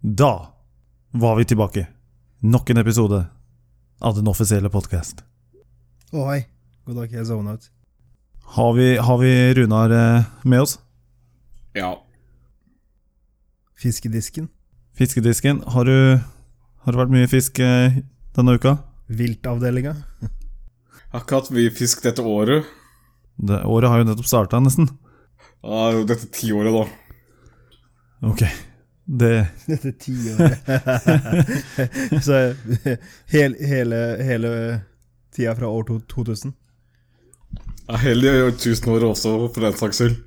Da var vi tilbake. Nok en episode av den offisielle podkast. Å, hei. God dag, jeg zona ut. Har, vi- har vi Runar eh, med oss? Ja. Fiskedisken. Fiskedisken. Har du, har det vært mye fisk eh, denne uka? Viltavdelinga. Har ikke hatt mye fisk dette året. Det, året har jo nettopp starta, nesten. Ja, det er jo dette tiåret, da. Ok. Det Dette tiåret. Så hel, hele, hele tida fra år to- 2000. Jeg er heldig å gjøre tusenåret også, for den saks skyld.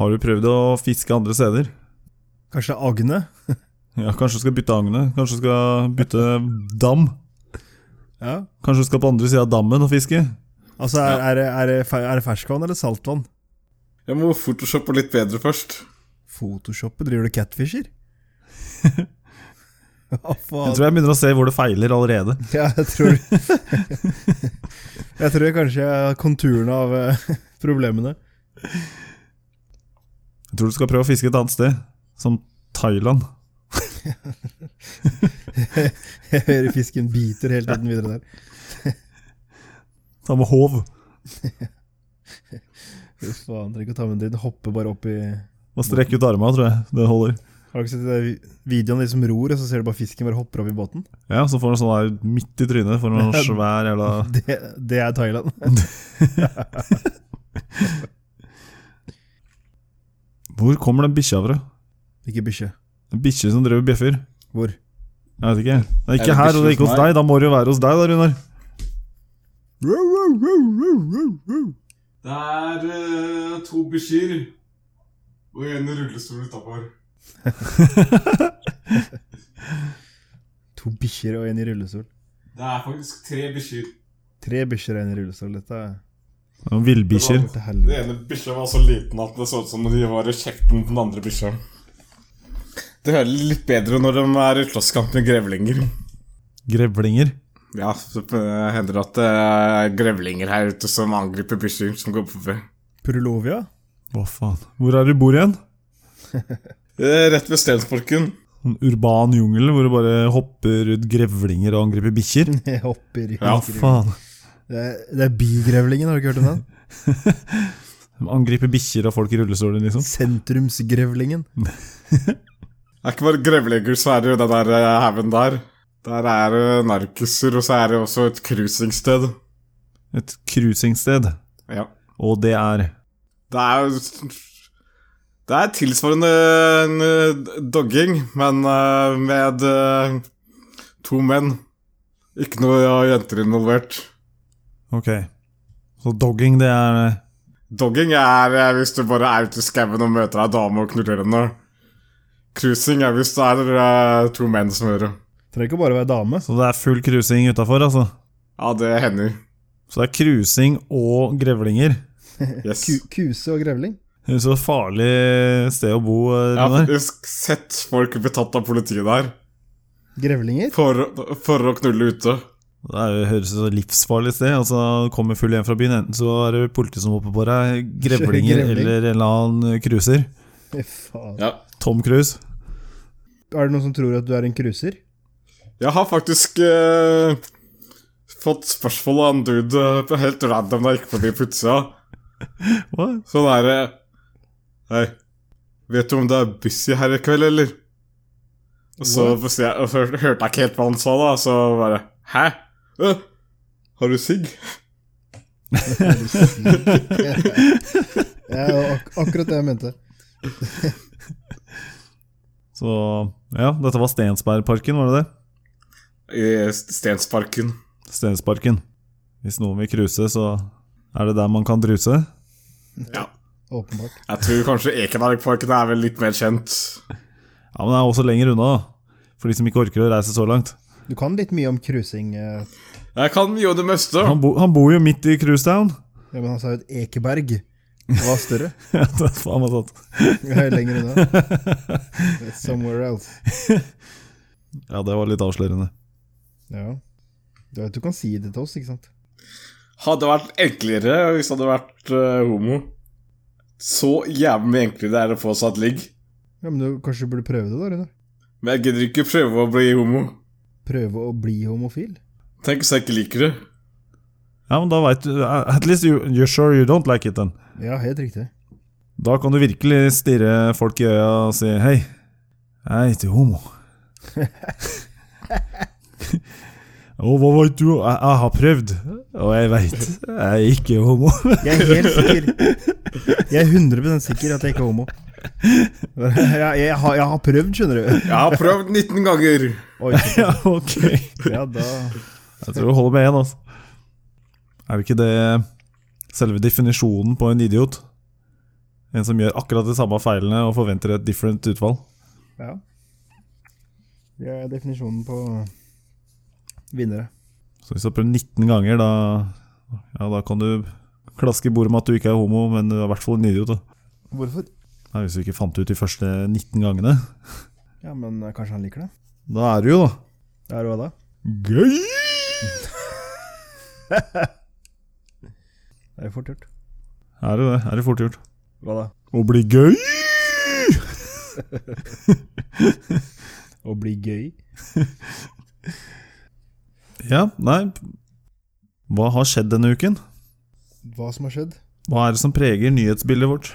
Har du prøvd å fiske andre steder? Kanskje Agne? Ja, Kanskje du skal bytte agne? Kanskje du skal bytte dam? Ja. Kanskje du skal på andre sida av dammen og fiske? Altså, er, er, det- er, det fe- er det ferskvann eller saltvann? Jeg må photoshoppe litt bedre først. Photoshoppet? Driver du catfisher? Hva Jeg faen? tror jeg begynner å se hvor det feiler allerede. Ja, jeg tror Jeg tror kanskje jeg har konturene av eh, problemene. Jeg tror du skal prøve å fiske et annet sted, som Thailand. Jeg hører fisken biter helt uten videre der. Ta med håv. Fy faen, trenger ikke å ta med den. Hopper bare opp i Har Og strekke ut armene, tror jeg. Det holder. du ikke sett de der videoene de som ror, og så ser du bare fisken bare hopper opp i båten? Ja, så får han sånn der midt i trynet. Får han en svær jævla Det, det er Thailand. Hvor kommer den bikkja fra? Ikke bikkje. En bikkje som driver og bjeffer? Hvor? Jeg vet ikke. Det er Er det ikke her, og det er ikke bikkje hos hos deg. Da må det jo være hos deg, da, Runar. Det er eh, to bikkjer og en rullestol utafor. To bikkjer og en i rullestol. Det er faktisk tre bikkjer. Tre bikkjer og en i rullestol. Dette er Det er Villbikkjer. til helvete. ene bikkja var så liten at det så ut som de var i kjeften på den andre bikkja. Det hører litt bedre når de er i slåsskamp med grevlinger. Grevlinger. Ja, så eh, hender det at det er grevlinger her ute som angriper bikkjer som går forbi. Purilovia? Hva faen. Hvor er det du bor igjen? Eh, Rett ved Stensparken. En urban jungel hvor det bare hopper ut grevlinger og angriper bikkjer? Jeg hopper i Ja, Faen. Det er, det er bigrevlingen, har du ikke hørt om den? De angriper bikkjer og folk i rullestoler, liksom. Sentrumsgrevlingen. Det er ikke bare grevlinger, så er det jo den der eh, haugen der. Der er det narkiser, og så er det også et cruisingsted. Et cruisingsted. Ja. Og det er Det er jo Det er tilsvarende en eh, dogging, men eh, med eh, to menn. Ikke noe ja, jenter involvert. Ok. Så dogging, det er eh, Dogging er eh, hvis du bare er ute i skauen og møter ei dame og knuller henne. Cruising er hvis det er eh, to menn som gjør det. Trenger ikke bare være dame. Så det er full cruising utafor, altså? Ja, det hender. Så det er cruising og grevlinger. Yes. Ku, kuse og grevling. Det er Så farlig sted å bo, eh, Jeg har Runar. faktisk sett folk bli tatt av politiet der Grevlinger? for, for å knulle ute. Det er jo- høres ut som et livsfarlig sted. Altså, Kommer full hjem fra byen, enten så er det politi som hopper på deg, grevlinger Grevling. eller en eller annen eh, cruiser. Fy faen. Ja. Tom Cruise. Er det noen som tror at du er en cruiser? Jeg har faktisk eh, fått spørsmål av en dude eh, helt random da jeg gikk forbi på utsida. Hva? Sånn er det Hei, vet du om det er busy her i kveld, eller? Og så, forstod jeg, og så hørte jeg ikke helt hva han sa, da, og så bare Hæ? Øh, har du sigg? Ja, det var ak akkurat det jeg mente. Så ja, dette var Stensbergparken, var det det? I Stensparken. Stensparken. Hvis noen vil cruise, så er det der man kan druse. Ja. Åpenbart. Jeg tror kanskje Ekebergparken er vel litt mer kjent. Ja, Men det er også lenger unna, da. For de som ikke orker å reise så langt. Du kan litt mye om cruising. eh. Jeg kan mye av det meste. Han, bo, han bor jo midt i Cruisetown. Ja, men han sa jo et Ekeberg. Det var større. Ja, det er faen meg sant. Jeg er Lenger unna. Somewhere else. Ja, det var litt avslørende. Ja. Du vet du kan si det til oss, ikke sant? Hadde vært enklere hvis det hadde vært eh, homo. så jævlig mye enklere det er å få seg et ligg. Ja, men du kanskje du burde prøve det, da, Runar? Men jeg gidder ikke prøve å bli homo. Prøve å bli homofil? Tenk hvis jeg ikke liker det. Ja, men da vet du At least you, you're sure you don't like it then. Ja, helt riktig. Da kan du virkelig stirre folk i øya og si hei, jeg er ikke homo. Og hva veit du? Jeg, jeg har prøvd, og jeg veit jeg er ikke homo. Jeg er helt sikker. Jeg er 100 sikker at jeg ikke er homo. Jeg, jeg, jeg, har, jeg har prøvd, skjønner du. Jeg har prøvd 19 ganger. Oi, ja, ok. Jeg ja, da tror det holder med én, altså. Er det ikke det selve definisjonen på en idiot? En som gjør akkurat de samme feilene og forventer et different utfall? Ja. Det er definisjonen på vinnere. Så hvis du har prøvd 19 ganger, da, ja, da kan du klaske i bordet med at du ikke er homo, men du er i hvert fall en idiot. Da. Hvorfor? Nei, hvis du ikke fant det ut de første 19 gangene, Ja, men eh, kanskje han liker det? da er du jo da Det er hva da? gøy! Det er jo fort gjort. Er det det? Er det fort gjort? Hva da? Å bli gøy? Å bli gøy? Ja, nei Hva har skjedd denne uken? Hva som har skjedd? Hva er det som preger nyhetsbildet vårt?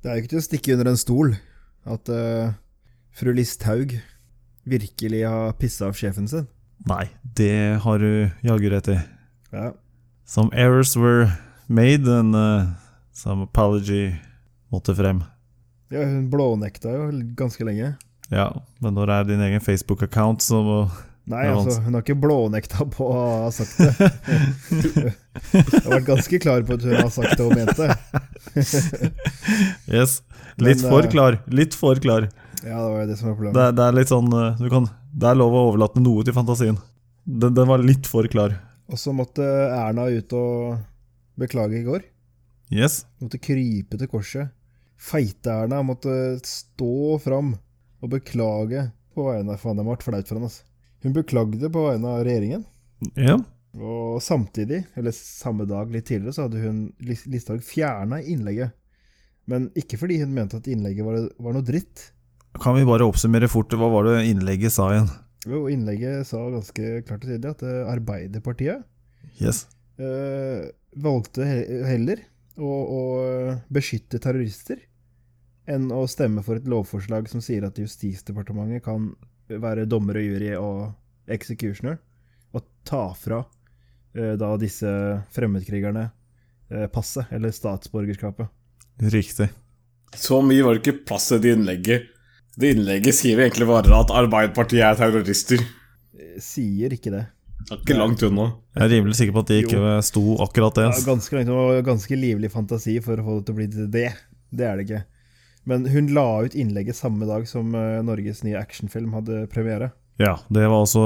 Det er jo ikke til å stikke under en stol at eh, fru Listhaug virkelig har pissa av sjefen sin. Nei, det har du jaggu rett i. Ja. Some errors were made, and uh, some apology måtte frem. ja, hun blånekta jo ganske lenge. Ja, men når det er din egen Facebook-account, så må Nei, Det er altså, hun har ikke blånekta på å ha sagt det. Jeg har vært ganske klar på at hun har sagt det og ment det. Yes. Litt Men, for eh, klar. Litt for klar. Ja, det var jo det som var Det, problemet. er- det er litt sånn eh, du kan, Det er lov å overlate noe til fantasien. Den, den var litt for klar. Og så måtte Erna ut og beklage i går. Yes. Måtte krype til korset. Feite-Erna måtte stå fram og beklage på vegne av Faen, det ble flaut for henne, altså. Hun beklagde på vegne av regjeringen. Ja. Og samtidig, eller samme dag litt tidligere, så hadde hun Lis- Listhaug fjerna innlegget. Men ikke fordi hun mente at innlegget var, var noe dritt. Kan vi bare oppsummere fort? Hva var det innlegget sa igjen? Jo, innlegget sa ganske klart og tydelig at eh, Arbeiderpartiet Yes. eh, valgte he- heller å, å beskytte terrorister enn å stemme for et lovforslag som sier at Justisdepartementet kan være dommer og jury og executioner, og ta fra eh, da disse fremmedkrigerne eh, passet, eller statsborgerskapet. Riktig. Så mye var det ikke plass til det innlegget. Det innlegget sier vi egentlig bare at Arbeiderpartiet er terrorister. Eh, Sier ikke det. Det er ikke langt unna. Jeg er rimelig sikker på at det ikke sto akkurat det. Ja, ass. ganske langt, og ganske livlig fantasi for å få det til å bli til det. Det er det ikke. Men hun la ut innlegget samme dag som eh, Norges nye actionfilm hadde premiere. Ja, det var altså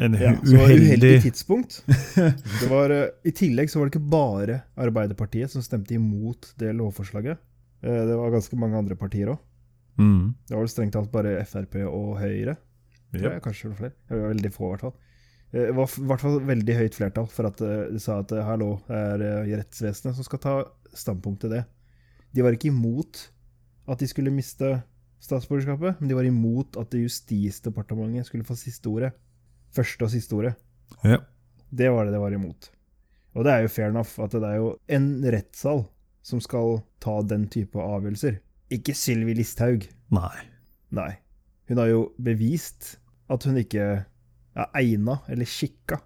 en Ja, hu- så det var et uheldig uheldig tidspunkt. Det var, eh, I tillegg så var det ikke bare Arbeiderpartiet som stemte imot det lovforslaget. Eh, Det var ganske mange andre partier òg. mm. Det var vel strengt talt bare Frp og Høyre. Ja, Jep. kanskje det var flere. Det var veldig få, i hvert fall. Eh, Det var f- i hvert fall veldig høyt flertall for at eh, de sa at eh, hallo, det er eh, rettsvesenet som skal ta standpunkt til det. De var ikke imot at de skulle miste statsborgerskapet, men de var imot at Justisdepartementet skulle få siste ordet. Første og siste ordet. Ja. Det var det det var imot. Og det er jo fair enough at det er jo en rettssal som skal ta den type avgjørelser. Ikke Sylvi Listhaug. Nei. Nei. Hun har jo bevist at hun ikke er egna eller skikka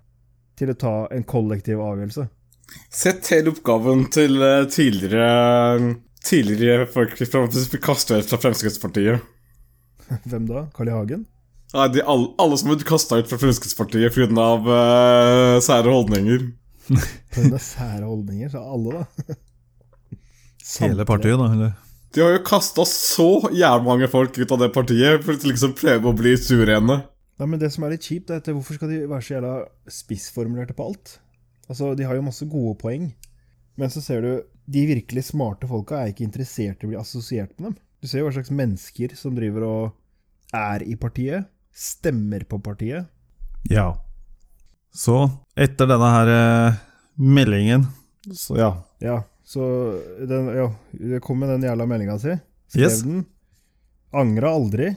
til å ta en kollektiv avgjørelse. Sett hele oppgaven til eh, tidligere Tidligere folk fra kasta ut fra Fremskrittspartiet. Hvem da? Carl I. Hagen? Nei, de, alle, alle som ble kasta ut fra Fremskrittspartiet pga. Uh, sære holdninger. For det er sære holdninger, sa alle, da. Hele partiet, da? Eller? De har jo kasta så jævlig mange folk ut av det partiet for å liksom prøve å bli surene. Nei, men Det som er litt kjipt, er at hvorfor skal de være så jævla spissformulerte på alt? Altså, De har jo masse gode poeng, men så ser du De virkelig smarte folka er ikke interessert i å bli assosiert med dem. Du ser jo hva slags mennesker som driver og er i partiet, stemmer på partiet. Ja. Så, etter denne her eh, meldingen, så ja Ja, Så den, ja, det kom med den jævla meldinga si. Skrev Yes. den. Angra aldri.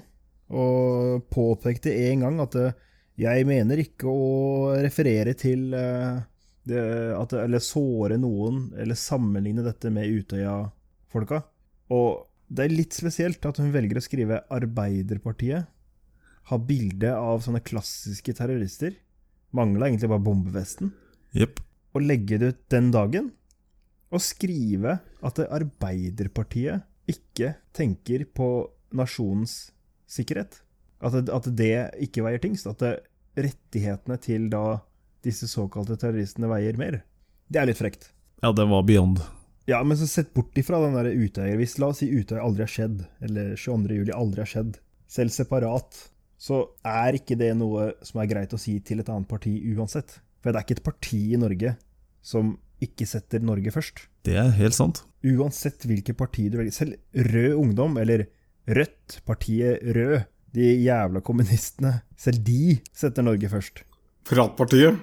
Og påpekte én gang at eh, jeg mener ikke å referere til eh, det, at, det- Eller såre noen, eller sammenligne dette med Utøya-folka. Og det er litt spesielt at hun velger å skrive Arbeiderpartiet. Ha bilde av sånne klassiske terrorister. Mangla egentlig bare bombevesten Jepp. å legge det ut den dagen, og skrive at det Arbeiderpartiet ikke tenker på nasjonens sikkerhet. At det, at det ikke veier tyngst. At det, rettighetene til da disse såkalte terroristene veier mer. Det er litt frekt. Ja, den var beyond. Ja, men så sett bort ifra den der Utøya. Hvis la oss si Utøya aldri har skjedd, eller 22. juli aldri har skjedd, selv separat, så er ikke det noe som er greit å si til et annet parti uansett. For det er ikke et parti i Norge som ikke setter Norge først. Det er helt sant. Uansett hvilket parti du velger. Selv Rød Ungdom, eller Rødt, partiet Rød, de jævla kommunistene, selv de setter Norge først. Piratpartiet.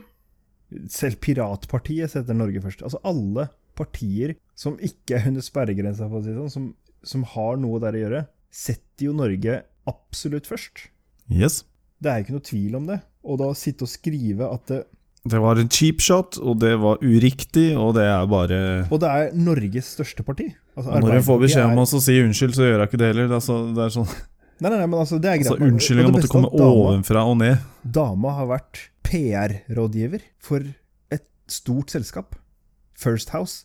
Selv piratpartiet setter Norge først. Altså alle partier som ikke er under sperregrensa, for å si det sånn, som, som har noe der å gjøre, setter jo Norge absolutt først. Yes. Det er jo ikke noe tvil om det. Og da sitte og skrive at det, Det var en cheap shot, og det var uriktig, og det er bare Og det er Norges største parti. Altså, Og Når hun får Arbeiderpartiet beskjed om er- å si unnskyld, så gjør hun ikke det heller. Det er, så, det er sånn Nei, nei, nei, men altså, det er greit. altså, men- Unnskyldninga og det måtte beste er komme at dama- ovenfra og ned. Dama har vært PR-rådgiver for et stort selskap. First House.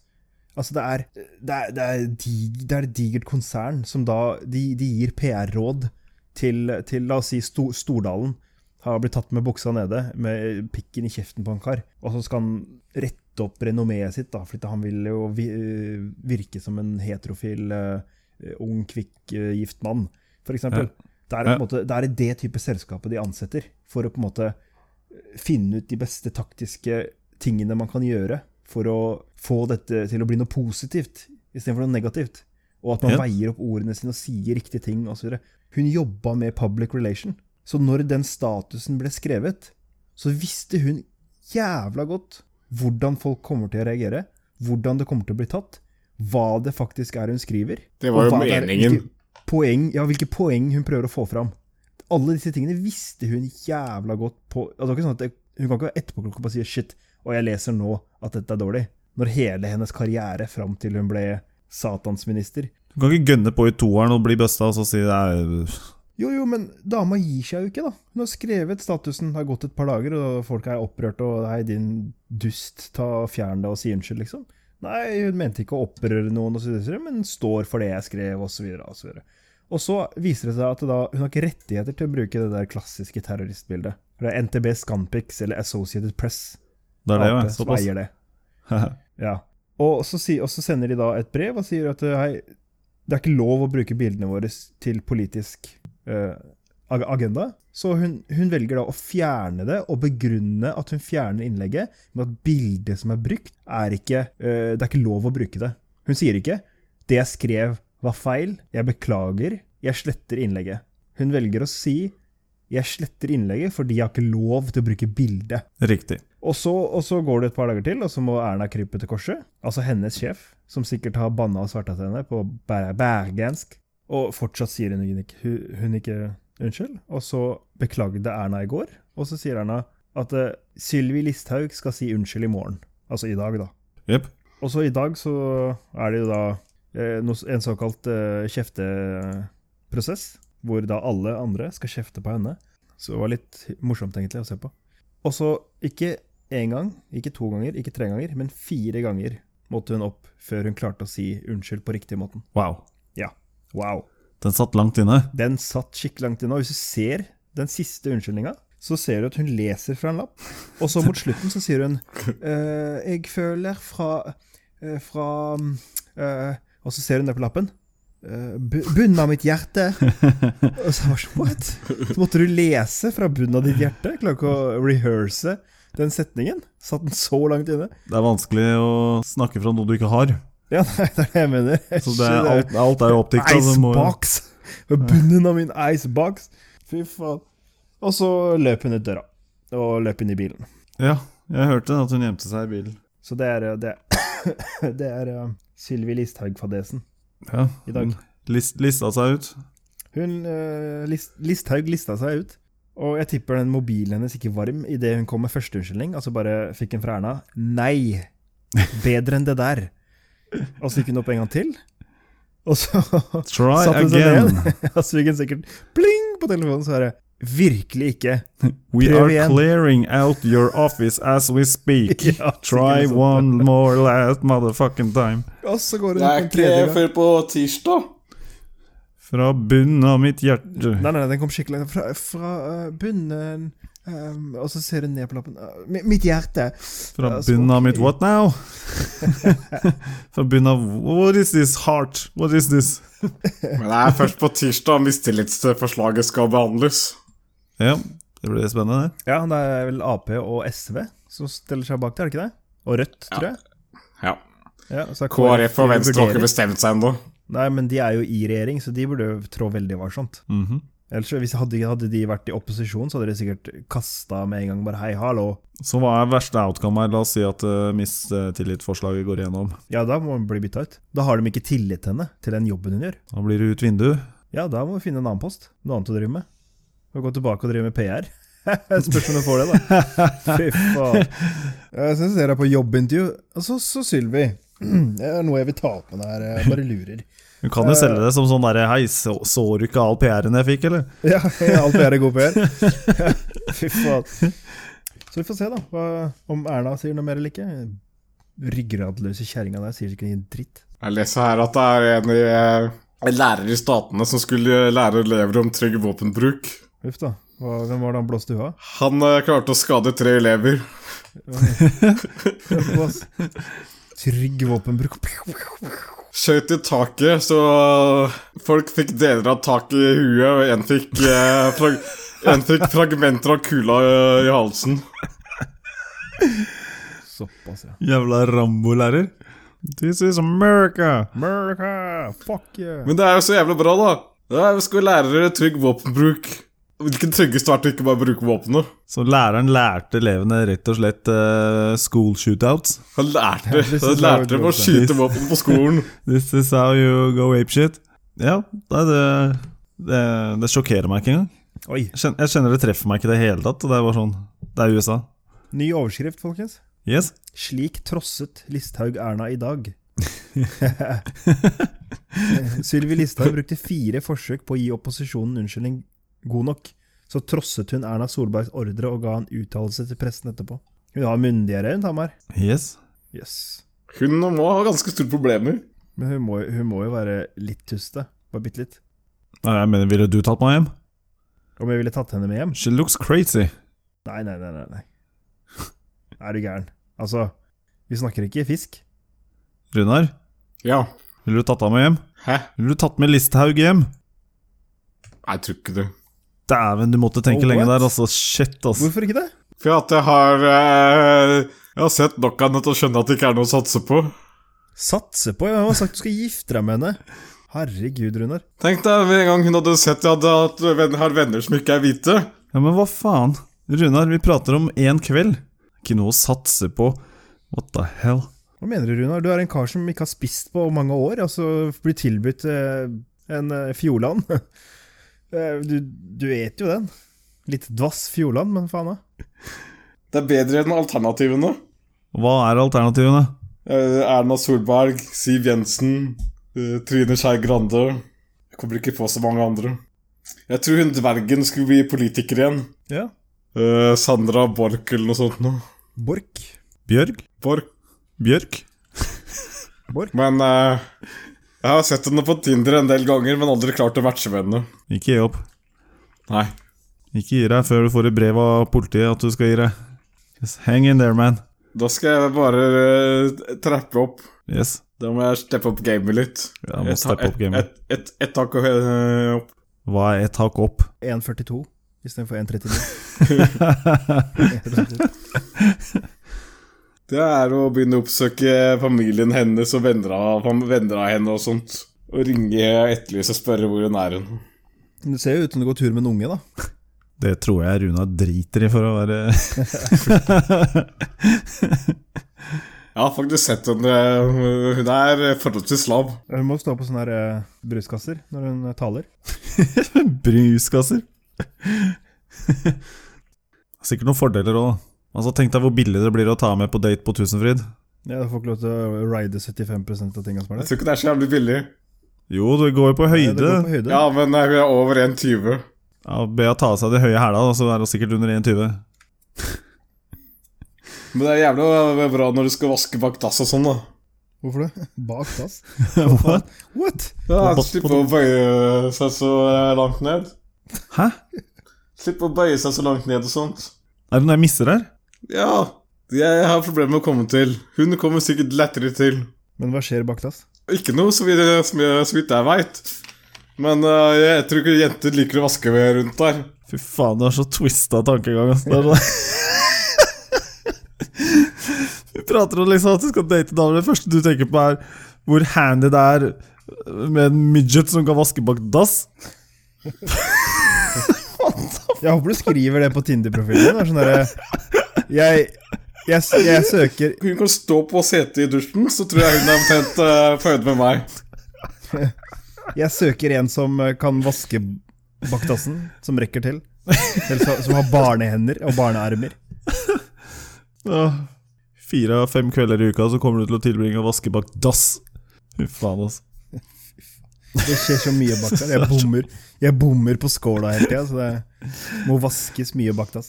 Altså, det er, det er, det er, dig, det er et digert konsern som da De, de gir PR-råd til, til, la oss si, Sto, Stordalen. Har blitt tatt med buksa nede, med pikken i kjeften på en kar. Og så skal han rette opp renommeet sitt, da, fordi han vil jo vi- øh, virke som en heterofil, øh, ung, kvikk, øh, gift mann, f.eks. Ja. eksempel Det er på Ja. en måte det, er det type selskapet de ansetter, for å på en måte finne ut de beste taktiske tingene man kan gjøre for å få dette til å bli noe positivt istedenfor noe negativt. Og at man Ja. veier opp ordene sine og sier riktige ting osv. Hun jobba med public relation. Så når den statusen ble skrevet, så visste hun jævla godt hvordan folk kommer til å reagere, hvordan det kommer til å bli tatt, hva det faktisk er hun skriver. Det var og jo hva det er- meningen. Hvilke poeng, ja, hvilke poeng hun prøver å få fram. Alle disse tingene visste hun jævla godt på altså, Det var ikke sånn at det, Hun kan ikke være etterpåklokka og bare si 'shit, og jeg leser nå at dette er dårlig', når hele hennes karriere fram til hun ble satansminister Du kan ikke gønne på i toeren og bli busta og så si det er Jo, jo, men dama gir seg jo ikke, da. Hun har skrevet statusen, det har gått et par dager, og folk er opprørt og 'Hei, din dust, ta fjern deg og si unnskyld', liksom. Nei, hun mente ikke å opprøre noen, og så videre, men står for det jeg skrev, og så videre, og så videre. Og så viser det seg at da, hun har ikke rettigheter til å bruke det der klassiske terroristbildet. For det er NTB Scanpix eller Associated Press Det er det, ja. Ap som Såpass. eier det. Ja. Og så, si, og så sender de da et brev og sier at eh, hei, det er ikke lov å bruke bildene våre til politisk eh, ag- agenda. Så hun, hun velger da å fjerne det og begrunne at hun fjerner innlegget med at bildet som er brukt, er ikke eh, Det er ikke lov å bruke det. Hun sier ikke 'Det jeg skrev, var feil. Jeg beklager. Jeg sletter innlegget'. Hun velger å si 'Jeg sletter innlegget fordi jeg har ikke lov til å bruke bildet'. Riktig. Og så, og så går det et par dager til, og så må Erna krype til korset. Altså hennes sjef, som sikkert har banna og sverta til henne på ber- bergensk. Og fortsatt sier hun ikke, hun, hun ikke unnskyld. Og så beklagde Erna i går, og så sier Erna at eh, Sylvi Listhaug skal si unnskyld i morgen. Altså i dag, da. Jepp. Og så i dag så er det jo da eh, noe- en såkalt eh, kjefteprosess, hvor da alle andre skal kjefte på henne. Så det var litt morsomt egentlig å se på. Og så ikke én gang, ikke to ganger, ikke tre ganger, men fire ganger måtte hun opp før hun klarte å si unnskyld på riktig måten. Wow. Ja. Wow. Den satt langt inne. Den satt skikkelig langt inne. Og hvis du ser den siste unnskyldninga, så ser du at hun leser fra en lapp. Og så mot slutten så sier hun «Eh, Jeg føler fra eh, Fra eh», Og så ser hun det på lappen. «Eh, bu- bunnen av mitt hjerte. Og så var det sånn, What? Så måtte du lese fra bunnen av ditt hjerte? Klarer ikke å rehearse den setningen? Satt den så langt inne? Det er vanskelig å snakke fra noe du ikke har. Ja, nei, det er det jeg mener. Så det er, alt, alt er jo oppdikta. Icebox! Ved bunnen av min icebox. Fy faen. Og så løp hun ut døra. Og løp inn i bilen. Ja, jeg hørte at hun gjemte seg i bilen. Så det er eh, Det, det er eh, Sylvi Listhaug-fadesen Ja. i dag. List, lista seg ut. Hun eh, list, Listhaug lista seg ut, og jeg tipper den mobilen hennes ikke varm idet hun kom med første unnskyldning, altså bare fikk en fra Erna. Nei! Bedre enn det der! Og så gikk hun opp en gang til, og så Try satte hun seg again. ned. Og så fikk hun sikkert pling på telefonen, så er det virkelig ikke. We Prøv are igjen. clearing out your office as we speak. Ja, Try sikkert sånn. one more last motherfucking time. Og så går hun Det opp er en ikke tredje gang. før på tirsdag. Fra bunnen av mitt hjerte. Nei, nei, nei, den kom skikkelig langt. Fra, fra eh, bunnen eh, Og så ser hun ned på lappen. Eh, mi- mitt hjerte! Fra Ja, så bunnen av ok. mitt what now? Fra bunnen av What is this heart? What is this? Men det er først på tirsdag mistillitsforslaget skal behandles. Ja, det blir spennende, det. Ja, det er vel Ap og SV som stiller seg bak det, er det ikke det? Og Rødt, tror jeg. Ja. Ja, så er KrF og Venstre har vurderer. ikke bestemt seg ennå. Nei, men de er jo i regjering, så de burde jo trå veldig varsomt. Mhm. Ellers, så hvis hadde, hadde de vært i opposisjon, så hadde de sikkert kasta med en gang bare hei, hallo. Så hva er verste outcome her? La oss si at uh, mistillitsforslaget går igjennom. Ja, da må hun bli bytta ut. Da har de ikke tillit til henne, til den jobben hun gjør. Da blir det ut vindu. Ja, da må vi finne en annen post. Noe annet å drive med. Og gå tilbake og drive med PR. Spørs om du får det, da. Fy faen. Jeg syns dere er på jobbintervju. Og så, så Sylvi. Det er noe jeg vil ta opp med deg her. Jeg bare lurer. Hun kan jo Eh. selge det som sånn derre Hei, så, så du ikke all PR-en jeg fikk, eller? Ja, alt PR er god PR. Fy faen. Så vi får se, da. Hva, om Erna sier noe mer eller ikke. Ryggraдлøse kjerringa der sier ikke en dritt. Jeg leser her at det er en i, eh, en lærer i Statene som skulle lære elever om trygg våpenbruk. Uff da. Hva, hvem var det han blåste huet av? Han eh, klarte å skade tre elever. Blås. Trygg våpenbruk. Skjøt i taket, så folk fikk deler av taket i huet, og en fikk, eh, frag en fikk fragmenter av kula eh, i halsen. Såpass, ja. Jævla Rambo-lærer. This is America! America, fuck you! Men det er jo så jævlig bra, da. Ja, vi skal lære dere trygg våpenbruk. Hvilken tryggeste vært å ikke bare bruke våpenet? Så læreren lærte elevene rett og slett eh, school shootouts. Han lærte, this han is how lærte it dem å goes, skyte våpen på skolen. This is how you go apeshit. Ja, det, er det, det, det sjokkerer meg ikke engang. Oi, Jeg kjen- Jeg kjenner det treffer meg ikke i det hele tatt. og Det er bare sånn Det er USA. ny overskrift, folkens. Yes. Slik trosset Listhaug Erna i dag. Sylvi Listhaug brukte fire forsøk på å gi opposisjonen unnskyldning god nok. Så trosset hun Erna Solbergs ordre og ga en uttalelse til pressen etterpå. Hun har myndigere enn Tamar. Yes. Yes. Hun må ha ganske store problemer. Men hun må, hun må jo være litt tuste. Bare bitte litt. Nei, Jeg mener, ville du tatt meg hjem? Om jeg ville tatt henne med hjem? She looks crazy. Nei, nei, nei, nei. nei. Er du gæren? Altså, vi snakker ikke fisk. Runar, Ja. ville du tatt av meg hjem? Hæ? Ville du tatt med Listhaug hjem? Jeg tror ikke det. Dæven, du måtte tenke Oh, lenge what? der, altså. Shit, altså. Hvorfor ikke det? For at jeg har eh, Jeg har sett nok av henne til å skjønne at det ikke er noe å satse på. Satse på? Jeg har sagt du skal gifte deg med henne. Herregud, Runar. Tenk deg med en gang hun hadde sett at jeg hadde hatt venner, har venner som ikke er hvite. Ja, men hva faen? Runar, vi prater om én kveld. Ikke noe å satse på. What the hell? Hva mener du, Runar? Du er en kar som ikke har spist på mange år, og så blir tilbudt eh, en eh, Fjordland. Eh, du, du et jo den. Litt dvass Fjordland, men faen da. Det er bedre enn alternativene. Hva er alternativene? Eh, Erna Solberg, Siv Jensen, eh, Trine Skei Grande Jeg kommer ikke på så mange andre. Jeg tror hun dvergen skulle bli politiker igjen. Ja. Eh, Sandra Borch eller noe sånt noe. Bork. Bjørg? Borch. Bjørk? Men eh, jeg har sett henne på Tinder en del ganger, men aldri klart å matche med henne. Ikke gi opp. Nei. Ikke gi deg før du får et brev av politiet at du skal gi deg. Just hang in there, man. Da skal jeg bare eh, trappe opp. Yes. Da må jeg steppe opp gamet litt. Ja, må Et- steppe opp et- gamet. et- et- Ett tak eh, opp. Hva er ett hakk opp? 1,42 istedenfor 1,39. Det er å begynne å oppsøke familien hennes og venner av, venner av henne og sånt. Og ringe og etterlyse og spørre hvor hun er. hun. Men Det ser jo ut som du går tur med en unge, da. Det tror jeg Runar driter i, for å være Jeg har faktisk sett henne. eh, Hun er forholdsvis lav. Hun må stå på sånne her, eh, bruskasser når hun eh, taler. Bruskasser. Sikkert noen fordeler òg, da. Altså, tenk deg hvor billig det blir å ta med på date på Tusenfryd. Ja, Da får ikke lov til å ride 75 av tinga som er Jeg der. tror ikke det er så jævlig billig. Jo, det går jo på Ja, det høyde. går på høyde. Ja, men eh, hun er over 1,20. Ja, Be henne ta av seg de høye hæla, da, så er hun sikkert under 1,20. Men det er jævlig bra når du skal vaske bak dass og sånn, da. Hvorfor det? Bak dass? What? What? Ja, På- på- Slippe å bøye seg så eh, langt ned. Hæ? Slippe å bøye seg så langt ned og sånt. Er det noe jeg misser her? Ja, jeg har problemer med å komme til. Hun kommer sikkert lettere til. Men hva skjer bak dass? Ikke noe, så vidt, så vidt- så vidt jeg veit. Men eh, jeg tror ikke jenter liker å vaske ved rundt der. Fy faen, du har så twista tankegang. ass. Det er sånn- Du prater om liksom at du skal date damer. Det første du tenker på, er hvor handy det er med en midget som kan vaske bak dass. Jeg håper du skriver det på Tinder-profilen. din, Det er sånn derre jeg, jeg, s- jeg søker Hun kan stå på setet i dusjen, så tror jeg hun er omtrent eh, på høyde med meg. Jeg søker en som eh, kan vaske baktassen, som rekker til. Eller så- som har barnehender og barnearmer. Ja. Fire av fem kvelder i uka så kommer du til å tilbringe å vaske bak dass. Fy faen, altså. Det skjer så mye bak der. Jeg bommer, jeg bommer på skåla hele tida, så det må vaskes mye bak dass.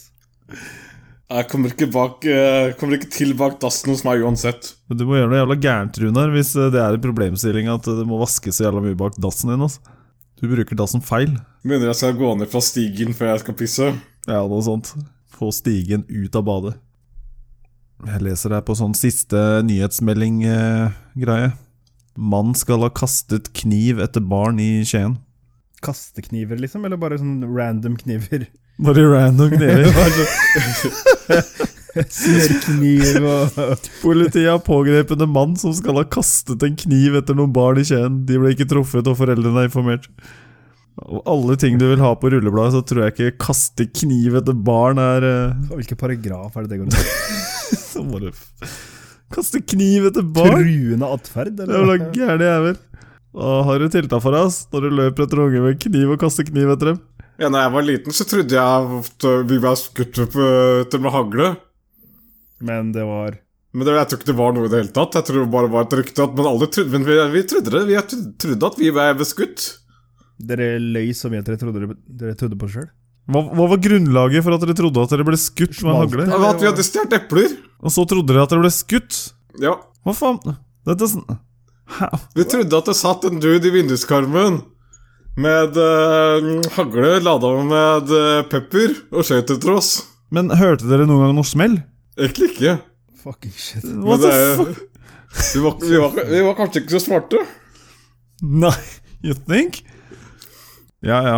Jeg kommer ikke, bak, eh, kommer ikke til bak dassen hos meg uansett. Men Du må gjøre noe jævla gærent, Runar, hvis eh, det er en problemstilling at eh, det må vaskes så jævla mye bak dassen din. Altså. Du bruker dassen feil. Begynner jeg skal gå ned fra stigen før jeg skal pisse. Ja, noe sånt. Få stigen ut av badet. Jeg leser her på sånn siste nyhetsmelding-greie. Mann skal ha kastet kniv etter barn i Skien. Kastekniver, liksom? Eller bare sånn random kniver? Bare random kniver. Bare så- Smørkniv og Politiet har pågrepet en mann som skal ha kastet en kniv etter noen barn i Skien. De ble ikke truffet, og foreldrene er informert. Av alle ting du vil ha på rullebladet, så tror jeg ikke 'kaste kniv etter barn' er eh, Hvilken paragraf er det det går under? så må du f- Kaste kniv etter barn? Truende atferd, Det er vel eller? en gæren jævel. Og har du tiltak for oss når du løper etter unger med kniv og kaster kniv etter dem? Ja, da jeg var liten, så trodde jeg at eh, vi ble skutt opp etter med hagle. Men det var Men det, jeg tror ikke det var noe i det hele tatt. Jeg tror det bare var et rykte at Men, alle trodde, men vi, vi trodde det. Vi trodde, trodde at vi ble beskutt. Dere løy så mye at dere trodde, dere- dere trodde på det sjøl? Hva, hva var grunnlaget for at dere trodde at dere ble skutt med en Smalt. hagle? Ja, At vi hadde stjålet epler. Og så trodde dere at dere ble skutt? Ja. Hva faen? Dette er sånn Hæ? Vi trodde at det satt en dude i vinduskarmen med eh, hagle lada med eh, pepper og skjøt etter oss. Men hørte dere noen gang noe smell? Egentlig ikke. Fucking shit. What Men det the er- fuck? Vi var, vi, var, vi var kanskje ikke så smarte. Nei, you think? Ja, ja.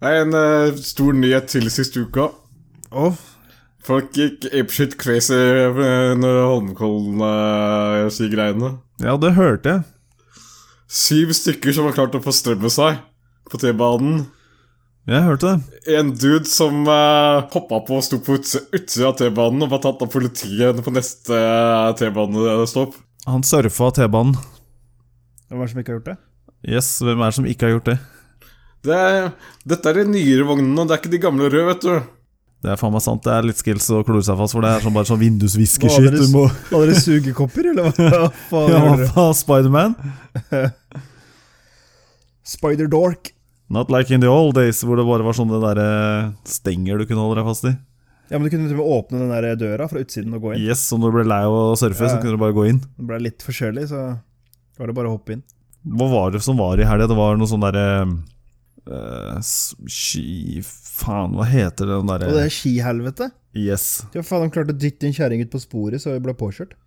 Det er en eh, stor nyhet til sist uka. Å, Folk gikk apeshit crazy eh, når eh, Holmenkollen-greiene. ja, det hørte jeg. Syv stykker som har klart å forstrømme seg på T-banen. Jeg hørte det. En dude som uh, hoppa på og sto på utsi- utsida av T-banen og ble tatt av politiet på neste eh, T-banestopp. Han surfa T-banen. Hvem er det som ikke har gjort det? Yes, hvem er det som ikke har gjort det? Det er- Dette er de nyere vognene, det er ikke de gamle røde, vet du. Det er faen meg sant. Det er litt skills å klore seg fast for. Det er sånn bare sånn Hva, vindusviskeskitt. dere- Du må Hadde dere sugekopper, eller hva? hva faen Ja, gjorde hva dere? faen, Spiderman? Spider-dork. Not like in the old days, hvor det bare var sånne der, eh, stenger du kunne holde deg fast i. Ja, men Du kunne til og med åpne den der døra fra utsiden og gå inn. Yes, så når du ble lei av å surfe, Ja. så kunne du bare gå inn. Det ble litt for kjølig, så var det bare å hoppe inn. Hva var det som var i helga? Det var noe sånn derre eh, s- Ski... Faen, hva heter det den Og det derre er skihelvete. Yes. Ja, faen, de klarte å dytte en kjerring ut på sporet, så vi ble påkjørt.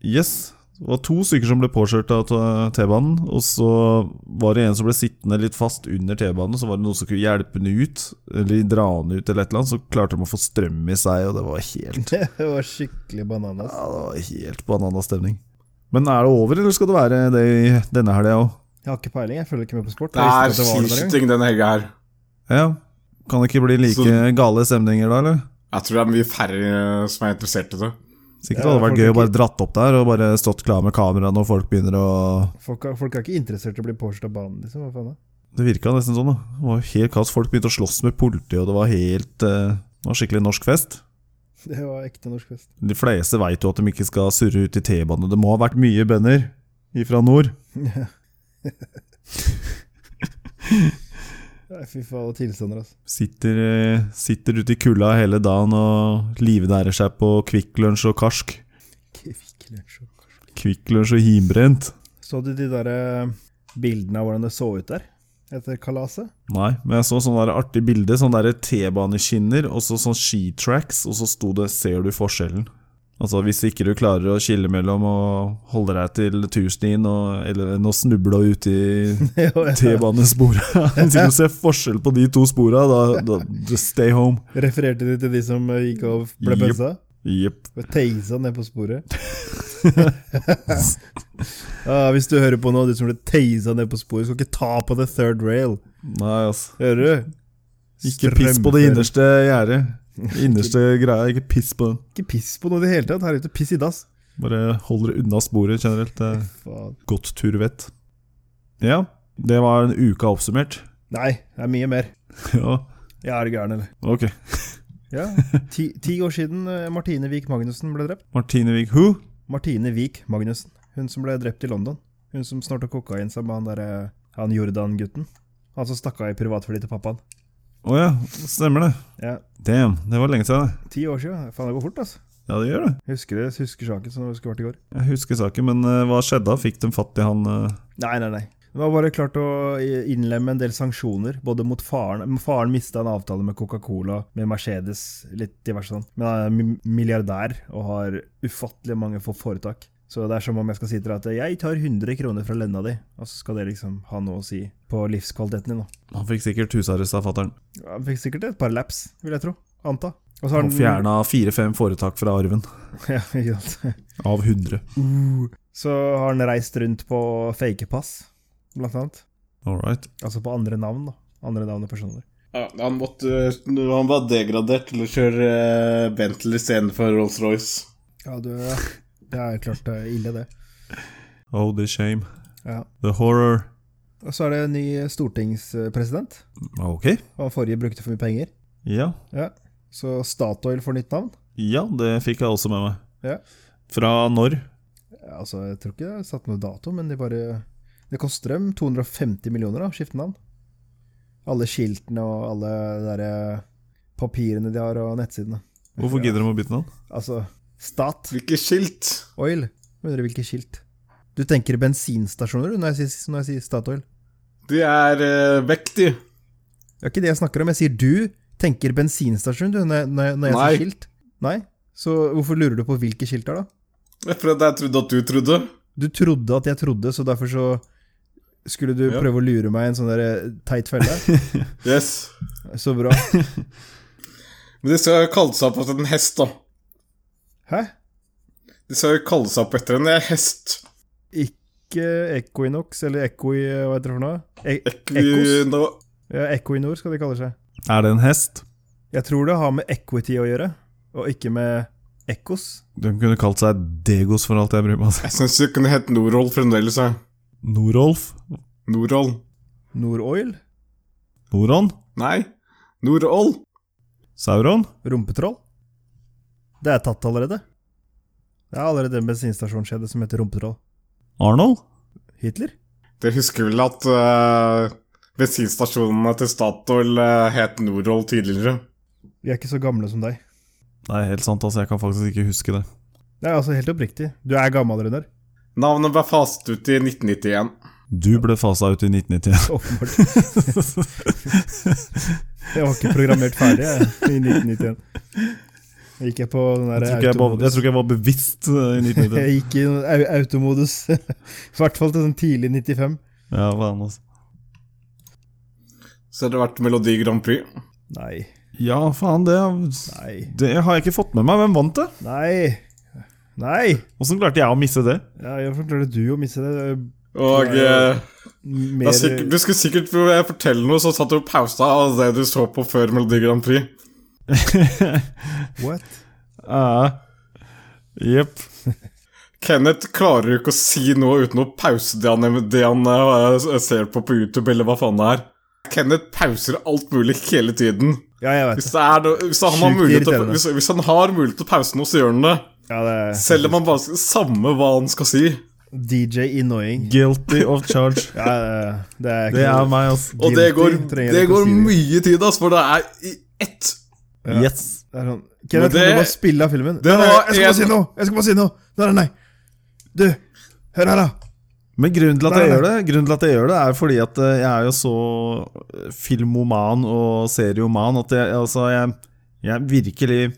Yes. Det var to stykker som ble påkjørt av t- T-banen. Og så var det en som ble sittende litt fast under T-banen. Så var det noen som kunne hjelpe henne ut, eller dra henne ut, eller et eller annet. Så klarte de å få strøm i seg, og det var helt Det var skikkelig bananas. Ja, det var helt bananastemning. Men er det over, eller skal det være det i denne helga òg? Jeg har ikke peiling, jeg følger ikke med på sport. Det Jeg er visste ikke at det var det der engang. skiskyting denne helga her. Ja. Kan det ikke bli like Så- gale stemninger da, eller? Jeg tror det er mye færre eh, som er interessert i det. Sikkert Ja, hadde det vært folk gøy er å bare dratt opp der og bare stått klar med kamera når folk begynner å Folk, er- folk er ikke interessert i å bli påkjørt av banen, liksom. Hva faen da? Det virka nesten sånn, da. Det var jo helt kaos. Folk begynte å slåss med politiet, og det var helt eh, Det var skikkelig norsk fest. Det var ekte norsk fest. De fleste veit jo at de ikke skal surre ut i T-bane. Det må ha vært mye bønder ifra nord. Nei, fy faen, tilstander, altså. Sitter, eh, sitter ute i kulda hele dagen og livnærer seg på Kvikk Lunsj og karsk. Kvikk Lunsj og Karsk. Kvikk Lunsj og himbrent. Så du de der eh, bildene av hvordan det så ut der? Etter kalaset? Nei, men jeg så sånn der artig bilde. Sånn der T-baneskinner og så sånn skitracks, og så sto det 'Ser du forskjellen'? Altså Hvis ikke du klarer å skille mellom og holde deg til turstien og, eller enn å snuble ut i T-banespora Hvis ikke du ser forskjell på de to spora, da, da just stay home. Refererte du til de som eh, gikk og ble Jep. pønsa? Jepp. Ble teisa ned på sporet? ah, hvis du hører på nå, du som ble teisa ned på sporet, skal ikke ta på the third rail. Nei, altså. Hører du? Ikke piss på det Strømfører. innerste gjerdet. Innerste greia. Ikke piss på den. Ikke piss på noe i det hele tatt. Her ute, piss i dass. Bare hold dere unna sporet generelt. Det er Faen. godt turvett. Ja, det var en uke oppsummert. Nei, det er mye mer. Ja, Jeg er gæren, eller? ok. Ja. Ti, ti år siden eh, Martine Wiik Magnussen ble drept. Martine Wiig Who? Martine Wiik Magnussen. Hun som ble drept i London. Hun som snorta kokain sammen med han derre Han Jordan-gutten. Han som stakk av i privatfly til pappaen. Å ja, stemmer det. Ja, Damn, det var lenge siden. det. Ti år siden. Faen, det går fort, altså. Ja, det gjør det. Husker det, husker saken som det skulle vært i går. Jeg husker saken, men eh, hva skjedde da? Fikk de fatt i han eh, Nei, nei, nei. Det var bare klart å innlemme en del sanksjoner, både mot faren Faren mista en avtale med Coca-Cola, med Mercedes, litt diverse sånn. Men han er mi- milliardær og har ufattelig mange få foretak. Så det er som om jeg skal si til deg at jeg tar 100 kroner fra lønna di, og så skal det liksom ha noe å si på livskvaliteten din. da. Han fikk sikkert husarrest av fatter'n. Ja, Han fikk sikkert et par laps, vil jeg tro. Anta. Og så har Han fjerna fire-fem foretak fra arven. Ja, ikke sant. Av 100. Så har han reist rundt på fake pass, blant annet. All right. Altså på andre navn, da. Andre navn og personer. Ja, han, måtte, eh, han var degradert til å kjøre eh, Bentley istedenfor Rolls-Royce. Ja, du Det er klart det er ille, det. Oh, the shame. Ja. The horror. Og så er det en ny stortingspresident. Ok. Og han forrige brukte for mye penger. Ja. Ja. Så Statoil får nytt navn. ja, det fikk jeg også med meg. Ja. Fra når? Ja, altså, jeg tror ikke det er satt noe dato, men de bare Det koster dem 250 millioner da, å skifte navn. Alle skiltene og alle de der eh, papirene de har, og nettsidene. Hvorfor gidder de å bytte navn? Altså Stat Hvilket skilt? Oil. Mener du hvilke skilt? Du tenker bensinstasjoner du, når jeg sier, når jeg sier Statoil? De er eh, vekk, de. Det er ikke det jeg snakker om. Jeg sier du tenker bensinstasjon du, når, jeg- når, jeg- når jeg Nei. sier skilt. Nei. Så hvorfor lurer du på hvilke skilt det er, da? For det jeg trodde at du trodde. Du trodde at jeg trodde, så derfor så skulle du Ja. prøve å lure meg i en sånn der teit felle. Yes. Så bra. Men de skal kalle seg opp etter en hest, da. Hæ? De skal kalle seg opp etter en hest. Ikke Equinox eller Equi... eh, Hva heter det for noe? E Echos? Equino... Ja, Equinor skal de kalle seg. Er det en hest? Jeg tror det har med equity å gjøre, og ikke med Echos. De kunne kalt seg Degos for alt jeg bryr meg om. Jeg syns det kunne hett Norol fremdeles. jeg. Norolf? Norol. Noroil? Noron? Nei, Norol. Sauron? Rumpetroll? Det er tatt allerede. Det er allerede en bensinstasjonskjede som heter Rumpetroll. Arnold? Hitler? Dere husker vel at eh, bensinstasjonene til Statoil eh, het Norol tidligere? Vi er ikke så gamle som deg. Det er helt sant, altså. Jeg kan faktisk ikke huske det. Det er altså helt oppriktig. Du er gammel, Runar. Navnet ble faset ut i 1991. Du ble fasa ut i 1991. Åpenbart. Jeg var ikke programmert ferdig jeg, i 1991. Jeg gikk jeg på den der Jeg tror, ikke jeg, var, jeg tror ikke jeg var bevisst eh, i 1990. Jeg gikk i en au- automodus. I hvert fall til sånn tidlig 95. Ja, faen, altså. Så har det vært Melodi Grand Prix. Nei, ja, faen, det, nei, det har jeg ikke fått med meg. Hvem vant det? nei. Nei! Åssen klarte jeg å misse det? Ja, jeg forklarte du å miste det. det. er Og eh, Mer, det er sikkert, du skulle sikkert eh, fortelle noe, så satt du og pausa av det du så på før Melodi Grand Prix. What? Eh, Jepp. Kenneth klarer jo ikke å si noe uten å pause det han, det han eh, ser på på YouTube, eller hva faen det er. Kenneth pauser alt mulig hele tiden. Ja, jeg vet Hvis, det. det er, noe- hvis, han, har Sjukt mulighet til, å- irriterende. hvis, hvis han har mulighet til å pause noe, så gjør han det. Ja, det er Selv om han bare skal Samme hva han skal si. DJ Annoying. Guilty of charge. Ja, det- det er ikke Det er noe- meg, altså. Og det Guilty, går, trenger det ikke å går si det. mye tid, ass, for det er i ett. Ja. Yes. Det er sånn Kenneth, det- kan du bare spille av filmen? det Nei, nei, var jeg skal bare en- si noe! Jeg skal bare si noe! Nei, nei, nei. Du, hør her, da. Men grunnen til at jeg Nei, nei. gjør det, grunnen til at jeg gjør det er fordi at eh, jeg er jo så eh, filmoman og serioman at jeg, altså, jeg, jeg virkelig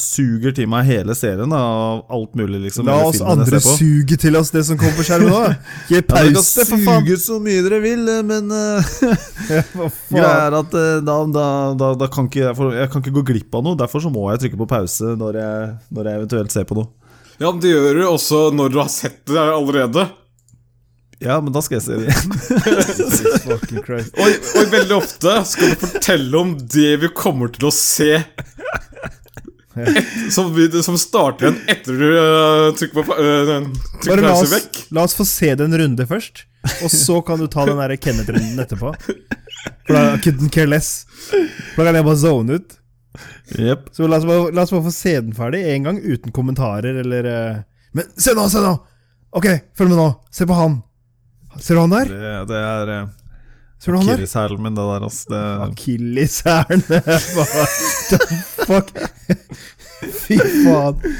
suger til meg hele serien da, av alt mulig. liksom La hele oss filmen jeg andre ser på. suge til oss det som kommer på skjermen nå. Ja, Gi dere kan pause, for faen! suge så mye dere vil, eh, men eh, Ja, greia hva faen? er at eh, da, da, da, da kan ikke jeg, for, jeg kan ikke gå glipp av noe. Derfor så må jeg trykke på pause når jeg, når jeg eventuelt ser på noe. Ja, men det gjør du også når du har sett det allerede. Ja, men da skal jeg se det igjen. Jesus fucking Christ. Og, og veldig ofte skal du fortelle om det vi kommer til å se. Et, som, vi, som starter igjen etter du øh, trykker på uh, Bare trykker la pause oss, vekk. la oss få se det en runde først, og så kan du ta den der Kenneth-runden etterpå. For da couldn't care less. For da kan jeg bare zone ut. Jep. Så la oss bare, la oss bare få se den ferdig en gang, uten kommentarer eller eh, Men se nå, se nå! Ok, følg med nå. Se på han. Ser du han der? Det, det er eh, Ser du han der? Kiris-hælen min, det der, ass. Det, Akilleshælen. Hva the fuck? Fy faen.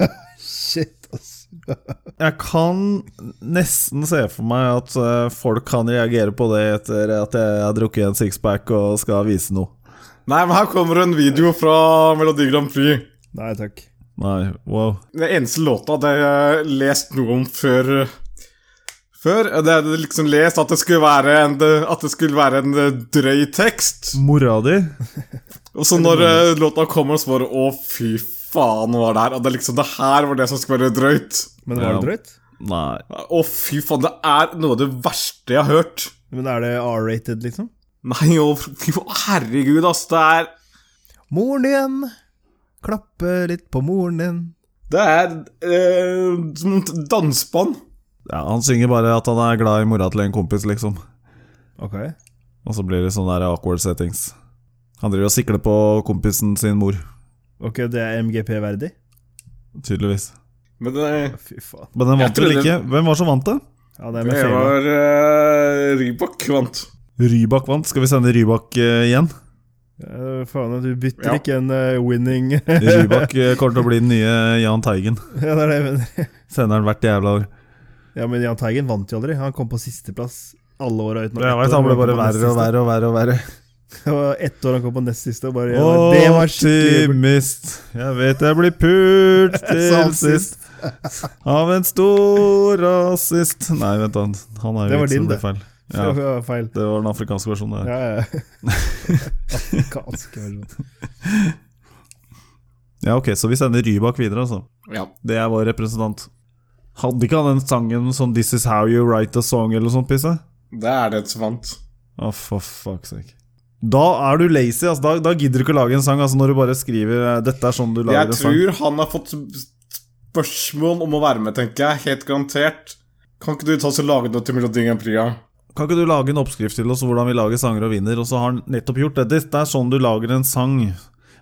Shit, ass. Jeg kan nesten se for meg at eh, folk kan reagere på det etter at jeg har drukket en sixpack og skal vise noe. Nei, men her kommer en video fra Melodi Grand Prix. Nei takk. Nei, wow. Den eneste låta hadde jeg lest noe om før Før Det hadde jeg liksom lest at det skulle være en, at det skulle være en drøy tekst. Mora di? Og så når eh, låta kommer, så bare Å, fy faen, hva var det her? Og det, er liksom, det her var det som skulle være drøyt. Men var Ja. det drøyt? Nei. Å, fy faen, det er noe av det verste jeg har hørt. Men er det R-rated, liksom? Nei, å, fy faen, herregud, ass. Det er Moren din! Klappe litt på moren din. Det er eh, som et dansband. Ja, han synger bare at han er glad i mora til en kompis, liksom. Ok. Og så blir det sånne der awkward settings. Han driver og sikler på kompisen sin mor, Ok, det er MGP-verdig? tydeligvis. Men eh, det, Fy faen. Men den Jeg vant vel trodde- ikke? Hvem var som vant det? Ja, det er med det feil. var uh, Rybak vant. Rybak vant. Skal vi sende Rybak eh, igjen? Ja, Eh, faen, du bytter Ja. ikke en eh, winning Rybak eh, kommer til å bli den nye Jahn Teigen. Ja, det er det jeg mener. Sender han hvert jævla år. Ja, men Jahn Teigen vant jo aldri. Han kom på sisteplass alle åra utenom Jeg ett vet, år. han ble bare kom på nest verre og siste. verre og verre. og verre Det var ett år han kom på nest siste, og bare ja, Det Å, var skikkelig optimist. Jeg vet jeg blir pult til Som sist. sist av en stor rasist. Nei, vent, han, han er jo Det var ikke din, så det. det feil. Det Ja, var feil. det var den afrikanske versjonen. der. Ja, ja. Afrikansk versjon. Ja, ok, Så vi sender Rybak videre, altså. Ja. Det er vår representant. Hadde ikke han den sangen sånn 'This is how you write a song' eller noe sånt pisse? Å, Det er det som vant. for fuck's sake. Da er du lazy. Altså. Da, da gidder du ikke å lage en sang altså, når du bare skriver eh, 'Dette er sånn du lager Jeg en sang'. tror han har fått spørsmål om å være med, tenker jeg. Helt garantert. Kan ikke du ta oss og lage noe til Melodi Grand Prix? Ja? Kan ikke du lage en oppskrift til oss hvordan vi lager sanger og vinner? Og så har han nettopp gjort det. Det er sånn du lager en sang.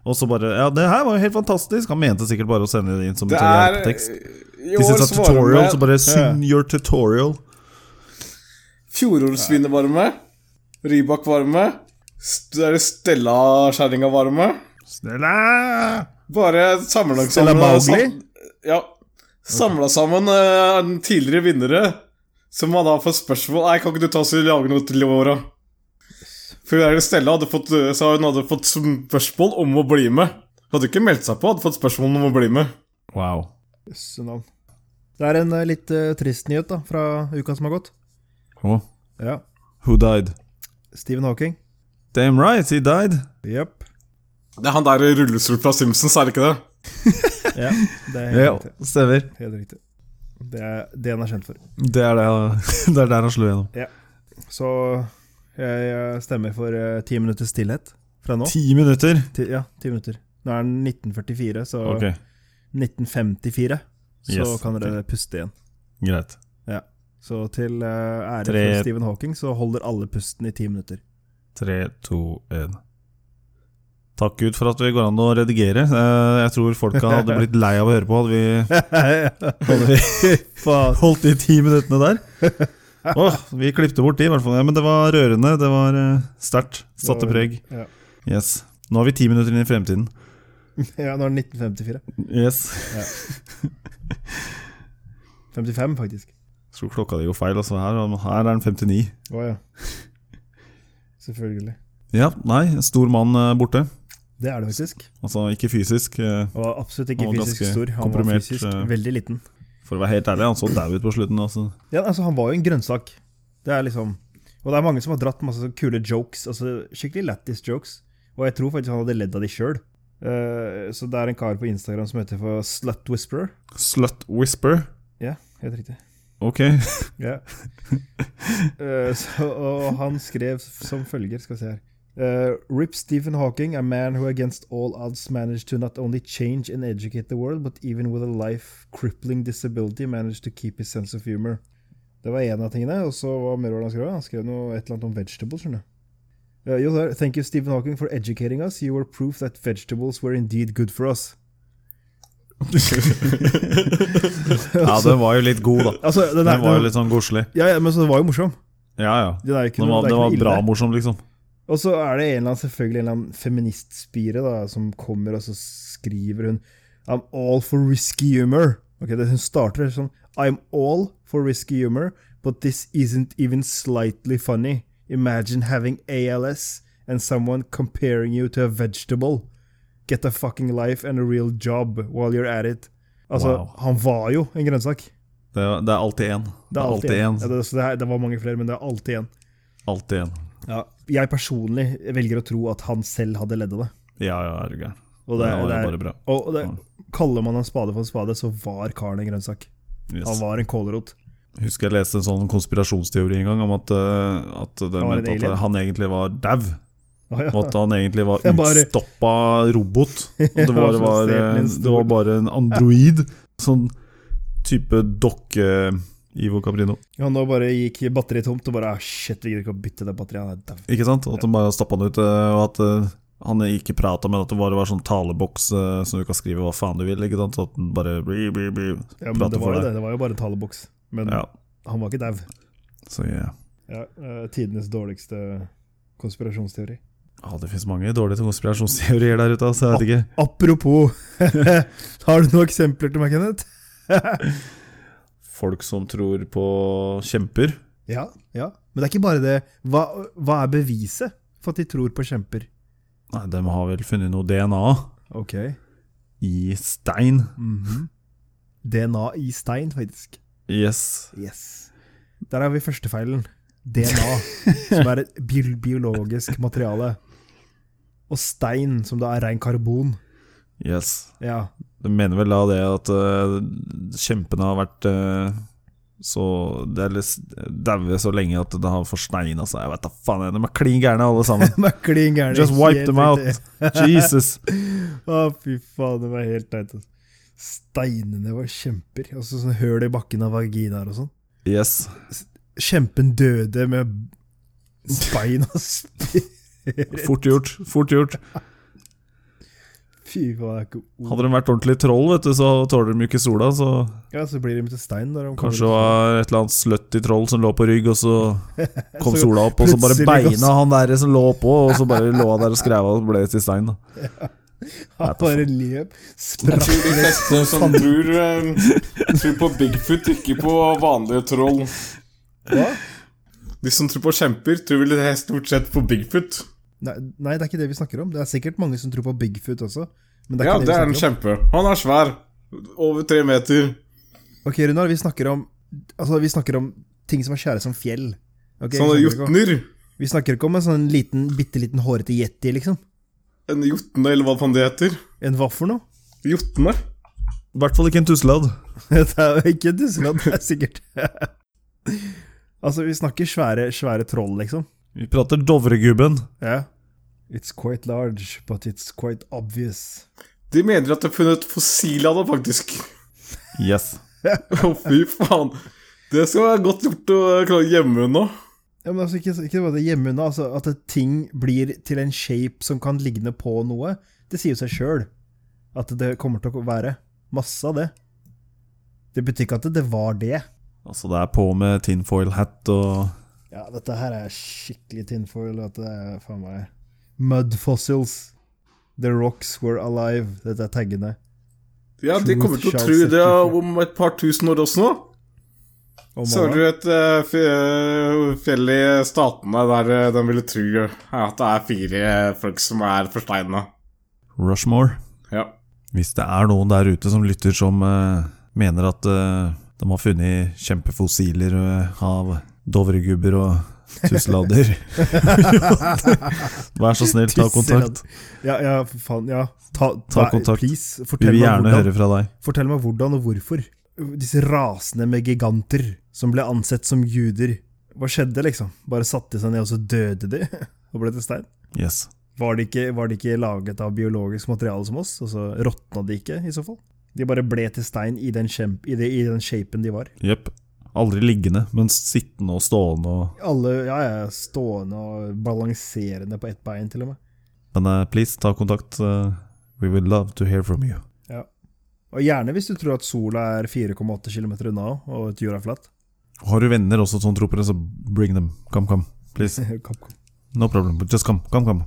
Og så bare Ja, det her var jo helt fantastisk. Han mente sikkert bare å sende det inn som en Det sånn er eh, hjelpetekst. I Hvis det er år så var det tutorial, så med bare syng your tutorial. Fjorårsvinner var med. Rybak var med. St- er det Stella-skjæringa var med. Stella! Bare samla Stella sammen eh, Mowgli? sam- Ja. Samla sammen eh, tidligere vinnere, som man da får spørsmål Nei, kan ikke du ta oss og lage noe til i år, da? For det er det Stella hadde fått, sa hun hadde fått spørsmål om å bli med. Hun hadde ikke meldt seg på, hadde fått spørsmål om å bli med. Wow. Jøsse navn. Det er en eh, litt eh, trist nyhet da, fra uka som har gått. Oh, Ja. who died? Stephen Hawking. Damn right, he died. Jepp. Det er han der i rullestol fra Simpsons, er det ikke det? Ja, det er helt Ja, riktig. stemmer. Helt riktig. Det er det han er kjent for. Det er, det, det er der han slo gjennom. Så jeg eh, stemmer for eh, ti minutters stillhet fra nå. Ti minutter. Ti, ja, ti minutter. Nå er den 1944, så Ok. 1954, så Yes. kan dere puste igjen. Greit. Ja. Så til eh, ære Tre- for Stephen Hawking så holder alle pusten i ti minutter. Tre, to, én. Takk Gud for at vi går an å redigere. Eh, Jeg tror folka hadde blitt lei av å høre på hadde vi, hadde vi Faen. holdt de ti minuttene der. Åh, vi klipte bort de, i hvert fall. Ja, men det var rørende. Det var eh, sterkt. Satte preg. Ja. Yes. Nå er vi ti minutter inn i fremtiden. ja, nå er det 1954. Yes. 55, faktisk. Slo klokka di jo feil, altså. Her, her er den 59. Å ja. Selvfølgelig. Ja, nei, en stor mann eh, borte. Det er det faktisk. Altså ikke fysisk. eh, Og absolutt ikke Han var fysisk ganske stor. Han var komprimert, fysisk eh. veldig liten. For å være helt ærlig, han så dau ut på slutten. Altså. Ja, altså Han var jo en grønnsak. Det er liksom Og det er mange som har dratt masse sånne kule jokes, altså skikkelig lættis jokes. Og jeg tror faktisk han hadde ledd av de sjøl. så det er en kar på Instagram som heter for Slut Whisperer. Slut whisper. Ja, helt riktig. Ok. Ja. Eh, så, og han skrev som følger, skal vi se her Eh, Rip Stephen Hawking, a man who against all odds managed to not only change and educate the world, but even with a life crippling disability managed to keep his sense of humor. Det var en av tingene. Og så hva mer var det han skrev? Han skrev noe, et eller annet om vegetables, skjønner du. Eh, jo, der, thank you, Stephen Hawking, for educating us. You were proof that vegetables were indeed good for us. Ja, den var jo litt god, da. Altså, den, er, Den var jo litt sånn godslig. ja, ja, men så det var jo morsom. Ja, ja. Den er jo ikke Den noe- var, det den er ikke noe var ille. bra morsom, liksom. Og så er det en eller annen, selvfølgelig en eller annen feministspire da, som kommer, og så skriver hun I'm all for risky humor. Ok, det, Hun starter sånn I'm all for risky humor, but this isn't even slightly funny. Imagine having ALS and someone comparing you to a vegetable. Get a fucking life and a real job while you're at it. Altså, Wow. han var jo en grønnsak. Det er, det er alltid én. Det er alltid én. Ja, det, så det, er- det var mange flere, men det er alltid én. Alltid én. Ja, jeg personlig velger å tro at han selv hadde ledd av det. Ja, ja, er du gæren. Og det, Ja, det er det er, bare bra. Og det, kaller man en spade for en spade, så var karen en grønnsak. Han Yes. var en kålrot. Husker jeg leste en sånn konspirasjonsteori en gang om at, eh, at de var en mente alien. at han egentlig var dau. Å, ja. Og at han egentlig var Jeg bare- utstoppa robot. Og det, var var, som var, en, stjelen en det var stor- bare en android. Sånn type dokke Ivo Caprino. Ja, nå bare gikk batteriet tomt, og bare ah, shit, vi gidder ikke å bytte det batteriet. Han er dau. Ikke sant? Og At de bare stappa han ut, eh, og at eh, han ikke prata, men at det bare var sånn taleboks eh, som du kan skrive hva faen du vil. Ikke sant? Så at den bare bli, bli, bli, Ja, men prater det var for jo det. deg. Det var jo bare en taleboks. Men Ja, han var ikke dau. så ja. Ja, eh, tidenes dårligste konspirasjonsteori. Ja, det fins mange dårlige konspirasjonsteorier der ute, altså. Jeg vet Ah, ikke. Apropos Har du noen eksempler til meg, Kenneth? Folk som tror på kjemper. Ja, ja. Men det er ikke bare det. Hva, hva er beviset for at de tror på kjemper? Nei, de har vel funnet noe DNA Ok. i stein. Mhm. DNA i stein, faktisk. Yes. Yes. Der har vi første feilen. DNA, som er et bi- biologisk materiale. Og stein, som da er rein karbon. Yes. Ja, De mener vel da det at eh, kjempene har vært eh, så det er litt daue så lenge at det har forsneina seg. Jeg vet da faen, jeg, de er klin gærne alle sammen. de er klin gærne. Just wipe Helt them out. riktig. Jesus. Å, fy faen, det var helt teit. ass. Steinene var kjemper. Altså sånn høl i bakken av vaginaer og sånn. Yes. Kjempen døde med bein og spir. Fort gjort. Fort gjort. Fy faen, det er ikke ord. Hadde de vært ordentlig troll, vet du, så tåler de jo ikke sola, så Ja, så blir de til stein når de kommer kanskje ut. det var et eller annet slutty troll som lå på rygg, og så kom sola opp, og så bare plutselig beina han der som lå på, og så bare lå han der og skrev og ble til stein. da. Han bare løp, Jeg sprakk tror de fleste som tror, eh, tror på Bigfoot, ikke på vanlige troll. Hva? De som tror på kjemper, tror vel det er stort sett på Bigfoot. Nei, nei, det er ikke det vi snakker om. Det er sikkert mange som tror på Bigfoot også. Men det er Ja, ikke det det er en vi snakker om. kjempe. Han er svær. Over tre meter. Ok, Runar, vi snakker om Altså, vi snakker om ting som er kjære som fjell. Ok, Sånne vi, snakker ikke om, jotner. vi snakker ikke om en sånn liten, bitte liten hårete yeti, liksom. En jotne, eller hva faen det heter. En hva for noe? Jotne? I hvert fall ikke en tusseladd. Det er jo ikke Dusseland, det er sikkert. altså, vi snakker svære, svære troll, liksom. Vi prater Dovregubben. Ja. It's quite large, but it's quite obvious. De mener at de har funnet fossilet av det, faktisk. Yes. Å, fy faen. Det skal være godt gjort å klare å gjemme unna. Ja, men altså, ikke, ikke bare det hjemme unna, altså at et ting blir til en shape som kan ligne på noe. Det sier jo seg sjøl at det kommer til å være masse av det. Det betyr ikke at det var det. Altså, det er på med tinfoil hat og Ja, dette her er skikkelig tinfoil. At det er faen meg Mud fossils. The rocks were alive. Dette er taggene. Ja, de Truth kommer til å shall tro set det you free. om et par tusen år også. Og Så Mara- har du et eh, fj- fjell i Statene der eh, de ville tro at det er fire folk som er forsteina. Rushmore. Ja. Hvis det er noen der ute som lytter som eh, mener at eh, de har funnet kjempefossiler eh, av dovregubber og tusseladder Vær så snill, ta kontakt. Ja, ja, for faen. Ja. Ta, Ta vær- kontakt. Please, Vi fortell vil meg gjerne hvordan. høre fra deg. Fortell meg hvordan og hvorfor. Disse rasene med giganter som ble ansett som guder. Hva skjedde, liksom? Bare satte de seg ned, og så døde de? Og ble til stein? Yes. Var de ikke, var de ikke laget av biologisk materiale som oss? Og så råtna de ikke, i så fall? De bare ble til stein i den, kjemp, i det, i den shapen de var. Jepp. Aldri liggende, men sittende og stående og Alle ja, ja, stående og balanserende på ett bein, til og med. Men eh, please, ta kontakt. eh, we would love to hear from you. Ja. Og gjerne hvis du tror at sola er 4,8 km unna, og at jorda er flatt. Har du venner også som tror på det, så bring them. Come, come. Please. Kom, kom. No problem. but Just come. Come, come.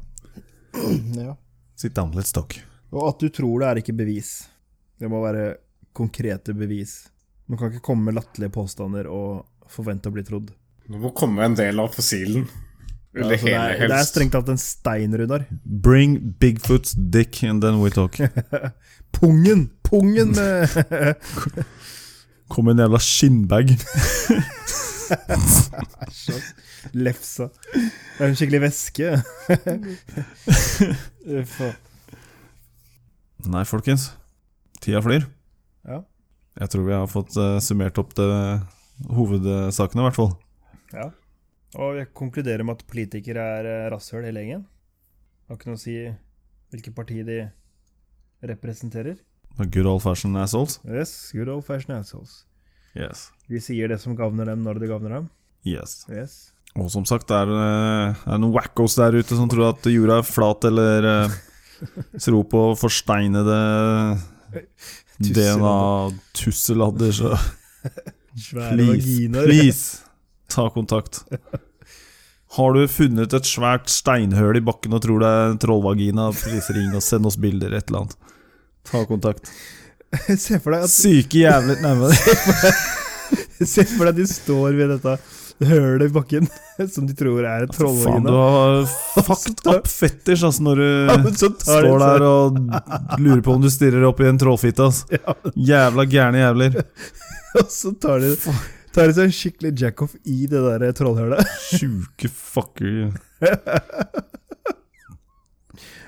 Ja. Sit down. Let's talk. Og at du tror det er ikke bevis. Det må være konkrete bevis. Man kan ikke komme med latterlige påstander og forvente å bli trodd. Det må komme en del av fossilen. Eller Altså, det, hele, er, helst. det er strengt tatt en stein, Runar. Bring Bigfoot's dick, and then we talk. Pungen! Pungen med Kom en jævla skinnbag. Æsj, ass. Lefsa. Det er en skikkelig væske. Uff, faen. Nei, folkens. Tida flyr. ja. Jeg tror vi har fått eh, summert opp det hovedsakene, i hvert fall. ja. Og jeg konkluderer med at politikere er eh, rasshøl hele gjengen. Har ikke noe å si hvilket parti de representerer. Good old fashioned assholes. Yes, good old fashioned assholes. Yes. De sier det som gagner dem, når det gagner dem. Yes. Yes. Og som sagt, det er, eh, er noen wackos der ute som tror at jorda er flat, eller eh, tror på forsteinede DNA-tusseladder, så Svære please, vaginaer. please, ta kontakt. Har du funnet et svært steinhøl i bakken og tror det er en trollvagina, please ring og send oss bilder, et eller annet. Ta kontakt. Se for deg at Syke jævler Nei, men Se for deg de står ved dette hølet i bakken, som de tror er et Altså, faen, du trollvagina. har fucked up fetisj altså, når Ja, du men så tar de står så- der og lurer på om du stirrer opp i en trollfitte. ass. Ja, Jævla gærne jævler. og så tar de, tar de seg en skikkelig jackoff i det der trollhølet. Sjuke fucker.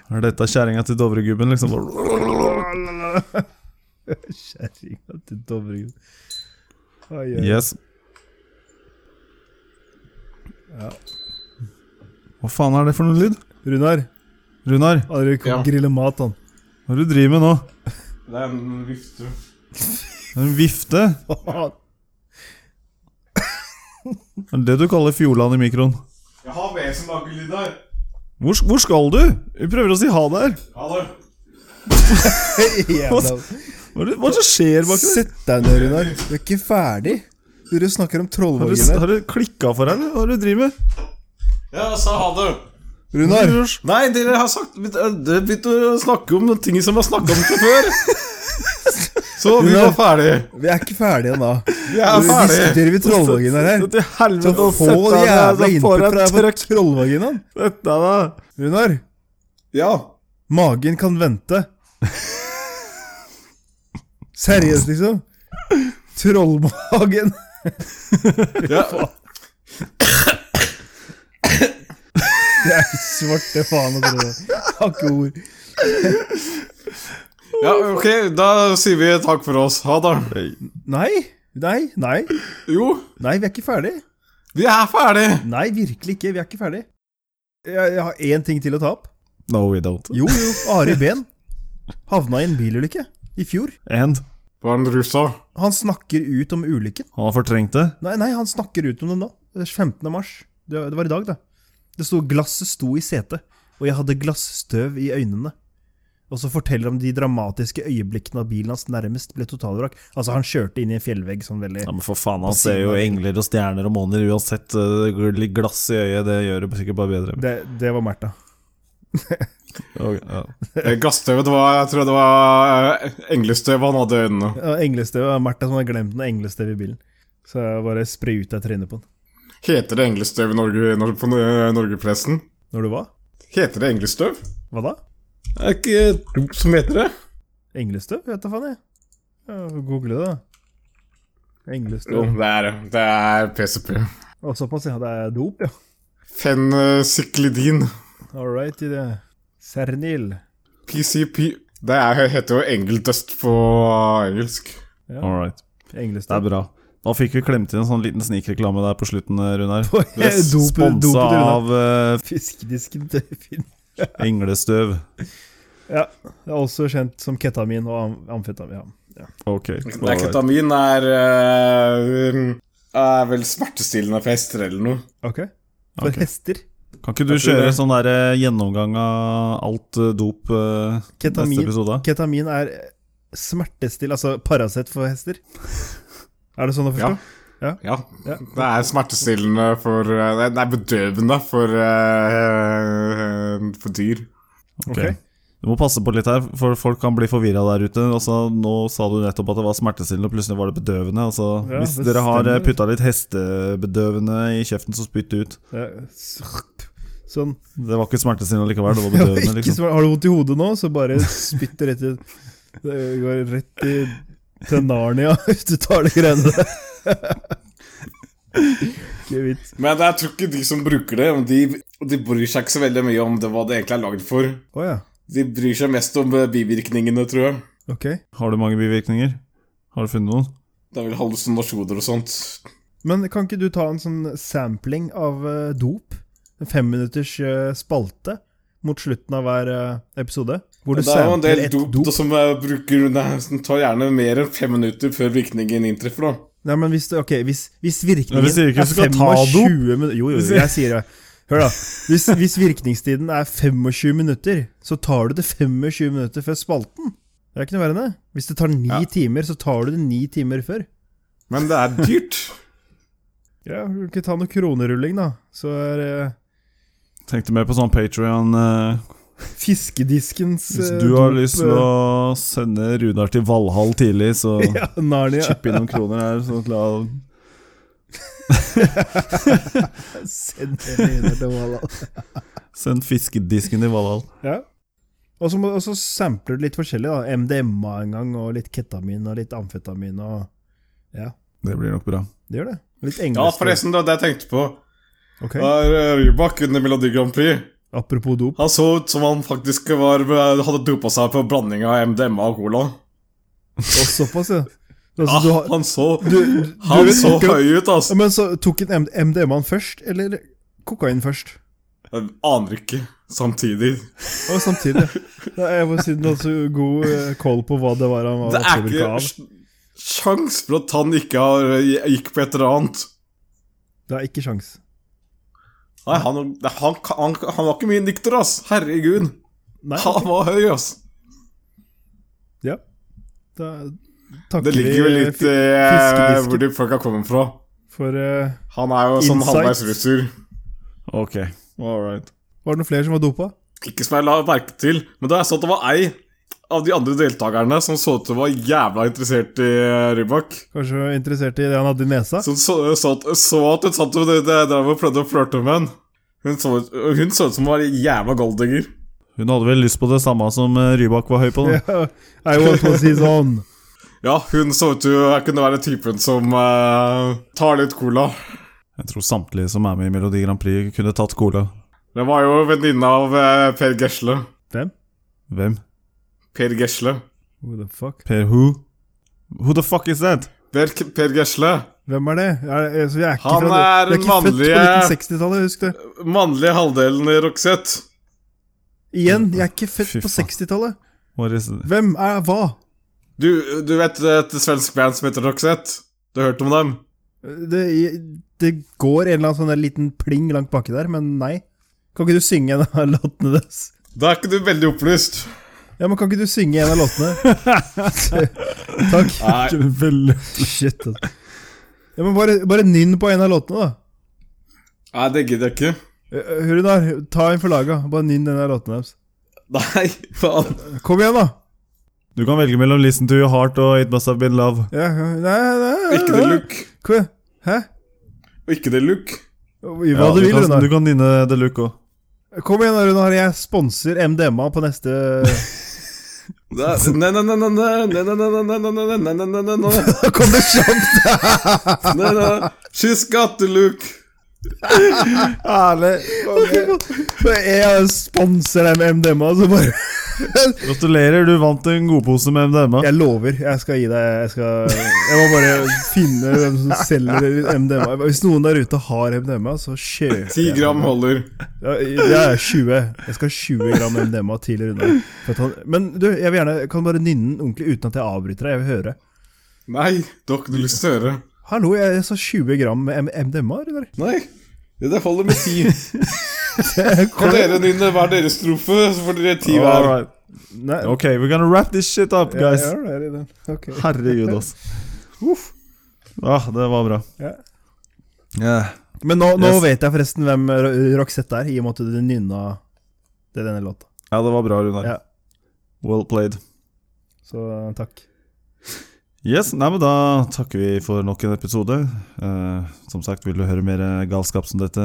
Er dette kjerringa til Dovregubben, liksom? Kjerringa til Dovregudd. Oi, oi. Yes. Ja. Hva faen er det for noe lyd? Runar, Runar, han røyker Ja. å grille mat, han. hva er det du driver med nå? Det er en vifte. Det er En vifte? Faen. Det er det du kaller Fjordland i mikroen. Jeg har ved som lager lyd her. Hvor, hvor skal du? Vi prøver å si ha det her. Ha det. Jævla. Hva er det, hva er det som skjer bak der? Sett deg ned, Runar. Du er ikke ferdig. Du snakker om Har du, trollvagina. har du klikka for her, eller hva er det du driver med? Ja, jeg sa ha det. Runar! Nei, dere har sagt eh, Dere begynte å snakke om ting som vi har snakka om til før. Så vi var ferdig. Vi er ikke ferdige ennå. Vi er Vi ferdig. diskuterer vi trollvaginaer her. Så Til helvete, Så få sett deg jævla ned, så får input jeg fra deg på trøkk. trollvaginaen. Sett deg ned. Runar, Ja. magen kan vente. Seriøst, liksom? Trollmagen. ja. Det er svarte faen å tro det. Har ikke ord. ja, ok, da sier vi takk for oss. Ha det. Nei, nei, nei. Jo, Nei, vi er ikke ferdig. vi er ferdig. Nei, virkelig ikke. Vi er ikke ferdig. Jeg, jeg har én ting til å ta opp. No, we don't. Jo, jo. Ari Ben. Havna i en bilulykke i fjor. And Var han rusa? Han snakker ut om ulykken. han har fortrengt det. Nei, nei, han snakker ut om den nå. Det er 15. mars. Det, det var i dag, det. Det sto, glasset sto i setet, og jeg hadde glassstøv i øynene. Og så forteller han de dramatiske øyeblikkene av bilen hans nærmest ble totalvrak. Altså, han kjørte inn i en fjellvegg sånn veldig Ja, men for faen, han ser jo engler og stjerner og måner uansett. eh, gl- Litt glass i øyet, det gjør det sikkert bare bedre. Det, det var Märtha. Ok, ja. Eh, Gassstøvet det var Jeg tror det var eh, englestøv han hadde i øynene. Ja, Englestøv var Märtha som hadde glemt noe englestøv i bilen. Så jeg bare spruta trynet på den. Heter det englestøv i Norge, nor- på eh, Norgepressen? Når du hva? Heter det englestøv? Hva da? Er det ikke Dop som heter det? Englestøv? Vet da faen, jeg. Ja, Google det, da. Jo, Englestøv. det er det. Det er PCP. Og såpass, ja. Det er dop, ja. Fencyklidin. All right, i det. Cernil. PCP. Det er, heter jo engeldust på eh, engelsk. All right. Det er Englestøv. bra. Da fikk vi klemt inn en sånn liten snikreklame der på slutten, eh, Runar. Yes, Sponsa av eh, Fiskedisken til Finn. englestøv. Ja. Det er også kjent som ketamin og am- amfetamin. Ja. Ok. Nei, alright. ketamin er eh, er vel smertestillende for hester eller noe. Ok. For Ok. hester. Kan ikke du Jeg tror kjøre det. sånn der eh, gjennomgang av alt eh, dop eh, neste Ketamin. episode? Ketamin er smertestill, altså Paracet for hester. Er det sånn å forstå? Ja. Ja. Det er smertestillende for eh, Nei, det er bedøvende for, eh, for dyr. Ok. Ok. Du må passe på litt her, for folk kan bli forvirra der ute. Altså, nå sa du nettopp at det var smertestillende, og plutselig var det bedøvende. Altså, Ja, hvis det dere har stemmer. putta litt hestebedøvende i kjeften, så spytt det ut. Ja, s- Sånn. Det var ikke smertestillende likevel, det var bedøvende. Ikke liksom svar- Har du vondt i hodet nå, så bare spytt det rett i Det går rett i til Narnia hvis du tar de greiene der. Ikke vits. Men jeg tror ikke de som bruker det, de, de bryr seg ikke så veldig mye om det, hva det egentlig er lagd for. Å ja. De bryr seg mest om eh, bivirkningene, tror jeg. Ok. Har du mange bivirkninger? Har du funnet noen? Det er vel hallusinasjoner og sånt. Men kan ikke du ta en sånn sampling av eh, dop? En femminutters eh, spalte mot slutten av hver eh, episode? Hvor du Men det er jo en sampler del et dop, da, som eh, bruker nei, som tar gjerne mer enn fem minutter før virkningen inntreffer, da. Nei, men hvis, det- ok, hvis, hvis Ja, virkningen hvis ikke, så skal er ta dop. 25 minutter Jo, jo, Hvis- jo, jeg sier det. Hør, da. Hvis, hvis virkningstiden er 25 minutter, så tar du det 25 minutter før spalten. Det er ikke noe verre enn det. Hvis det tar ni Ja. timer, så tar du det ni timer før. Men det er dyrt. Ja, du kan ikke ta noe kronerulling, da. Så er eh, Tenkte mer på sånn Patrion. fiskediskens hvis eh, du har dop, lyst til eh, å sende Runar til Valhall tidlig, så ja, Narnia. chipp inn noen kroner her. Så la Send den inn til Valhalla. Send fiskedisken til Valhall. Ja. Og så må- og så sampler du litt forskjellig, da. MDMA en gang, og litt ketamin, og litt amfetamin, og Ja, Det blir nok bra. det gjør det. Litt Ja, engelsk. forresten, det var det jeg tenkte på. Ok. Okay. Rybak under Melodi Grand Prix Apropos dop. Han så ut som han faktisk var, hadde dopa seg på blanding av MDMA og cola. Og såpass, ja. Ah, Altså, du har, han så, du, du, han du- så koka- høy ut, Ja, altså. Men så tok en M- MDMA-en først, eller kokain først? Jeg aner ikke. Samtidig. Og samtidig. Nei, jeg må si den hadde så god eh, call på hva det var han var Det er påvirket ikke av. sj- sjans for at han ikke har, gikk på et eller annet. Det er ikke sjans. Nei, han, han, han, han var ikke mye nykter, ass. Herregud. Nei, Han var høy, ass. ja. Da takker Det ligger vel vi litt fi- i eh, fiskedisken. hvor de folka kommer fra. for eh, Han er jo sånn Insights. halvveis russer. Ok, all right. Var det noen flere som var dopa? Ikke som jeg la merke til, men da jeg så at det var ei av de andre deltakerne som så ut til å være jævla interessert i eh, Rybak. Kanskje var interessert i det han hadde i nesa? Som så, eh, så, at- så at hun satt og det- det- drev og prøvde å flørte med henne. Hun så ut hun så ut som hun var en jævla golddigger. Hun hadde vel lyst på det samme som eh, Rybak var høy på, da. Ja, I want to see on. Ja, hun så ut til å kunne være typen som eh, tar litt cola. Jeg tror samtlige som er med i Melodi Grand Prix, kunne tatt cola. Det var jo venninna av eh, Per Gesle. Hvem? Hvem? Per Gesle. Who the fuck? Per who? Who the fuck is that? Per, per Gesle. Hvem er det? Er, det- så vi er ikke Han fra, er vi er den ikke født på vanlige- 1960-tallet, husk det. Mannlige halvdelen i Roxette. Igjen, jeg er ikke født Fy på faen. 60-tallet. Var i- Hvem er hva? Du, du vet et svensk band som heter Roxette? Du har hørt om dem? Det, det går en eller annen sånn der liten pling langt baki der, men nei. Kan ikke du synge en av låtene deres? Da er ikke du veldig opplyst. Ja, men kan ikke du synge en av låtene? Takk. Nei. Vel- Shit, altså. Ja, men bare, bare nynn på en av låtene, da. Nei, det gidder jeg ikke. Eh, Hurinar, ta en for laga. Bare nynn en av låtene deres. Nei, faen. Kom igjen, da! Du kan velge mellom 'Listen to your heart' og 'It must have been love'. Ja, ja, nei, nei, nei, Ikke det look. Kom igjen. Hæ? Og ikke det look. Hva du vil, kan, Runar. du kan nynne The Look òg. Kom igjen, da, Runar. Jeg sponser MDMA på neste Nei, nei, nei, nei, nei, nei, nei, nei, nei, nei, nei, nei, nei, nei, nei, nei, nei. Da kom det kjapt! Nei, nei. She's got the look. Herlig. Jeg sponser deg med MDMA, så bare Gratulerer, du vant en godpose med MDMA. Jeg lover. Jeg skal gi deg Jeg, skal, jeg må bare finne hvem som selger MDMA. Hvis noen der ute har MDMA, så kjøp. 10 gram holder. Ja, Det er 20. Jeg skal ha 20 gram MDMA til Runar. For at han- Men du, jeg vil gjerne kan du bare nynne den ordentlig uten at jeg avbryter deg. Jeg vil høre. Nei, du har ikke noe lyst til å høre. Hallo, jeg, jeg sa 20 gram med M- MDMA, Runar. Nei, det holder med 10. Kan Kom. dere nynne hver deres strofe, så får dere 10 All hver. right. Nei, Ok, we're gonna wrap this shit up, ja, guys. ja, det er i den. Ok. Herregud, ass. Uff. Ah, det var bra. Ja. Yeah. Men nå, nå Yes. vet jeg forresten hvem Ro- Roxette er, i og med at du nynna det denne låta. Ja, det var bra, Runar. Ja. Well played. Så eh, takk. Yes, nei, men Da takker vi for nok en episode. Eh, som sagt, vil du høre mer eh, galskap som dette,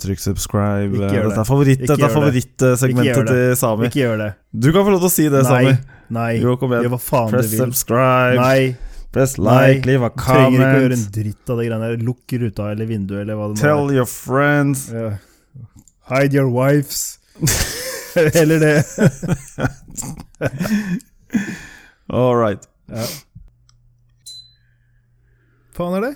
trykk subscribe. Ikke Eh, gjør dette det. er favoritt- Ikke dette er gjør det. Ikke favorittsegmentet gjør til Sami. Ikke gjør det. Du kan få lov til å si det, Nei. Sami. Nei. Jo, kom igjen. Gjør hva faen Press du vil. subscribe, Nei. press Nei. like, leave a Trenger ikke å gjøre en comment. dritt av de greiene der. Lukk ruta eller vinduet eller hva det Tell your friends. være. Ja. Hide your wives. eller det. All right. Ja. Faen er det?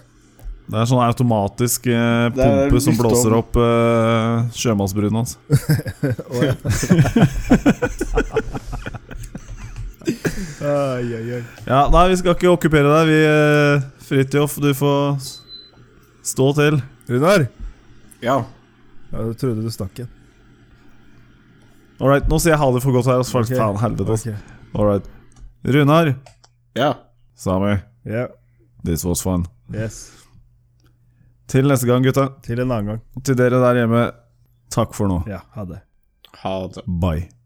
Det er sånn automatisk eh, Det er pumpe som lyst om. blåser opp eh, sjømannsbruden hans. Å, ja. Ai, ai, ai. Ja, nei, vi skal ikke okkupere deg. Vi eh, Fridtjof, du får s- stå til. Runar! Ja. Ja, jeg trodde du stakk en. All right, nå sier jeg ha det for godt her. Altså, Ok. Faen, helvete. altså. Ok. All right. Runar, Ja. Sami, Ja. this was fun. Yes. Til neste gang, gutta. Til en annen gang. Til dere der hjemme, takk for nå. Ja, ha det. Ha det. Bye.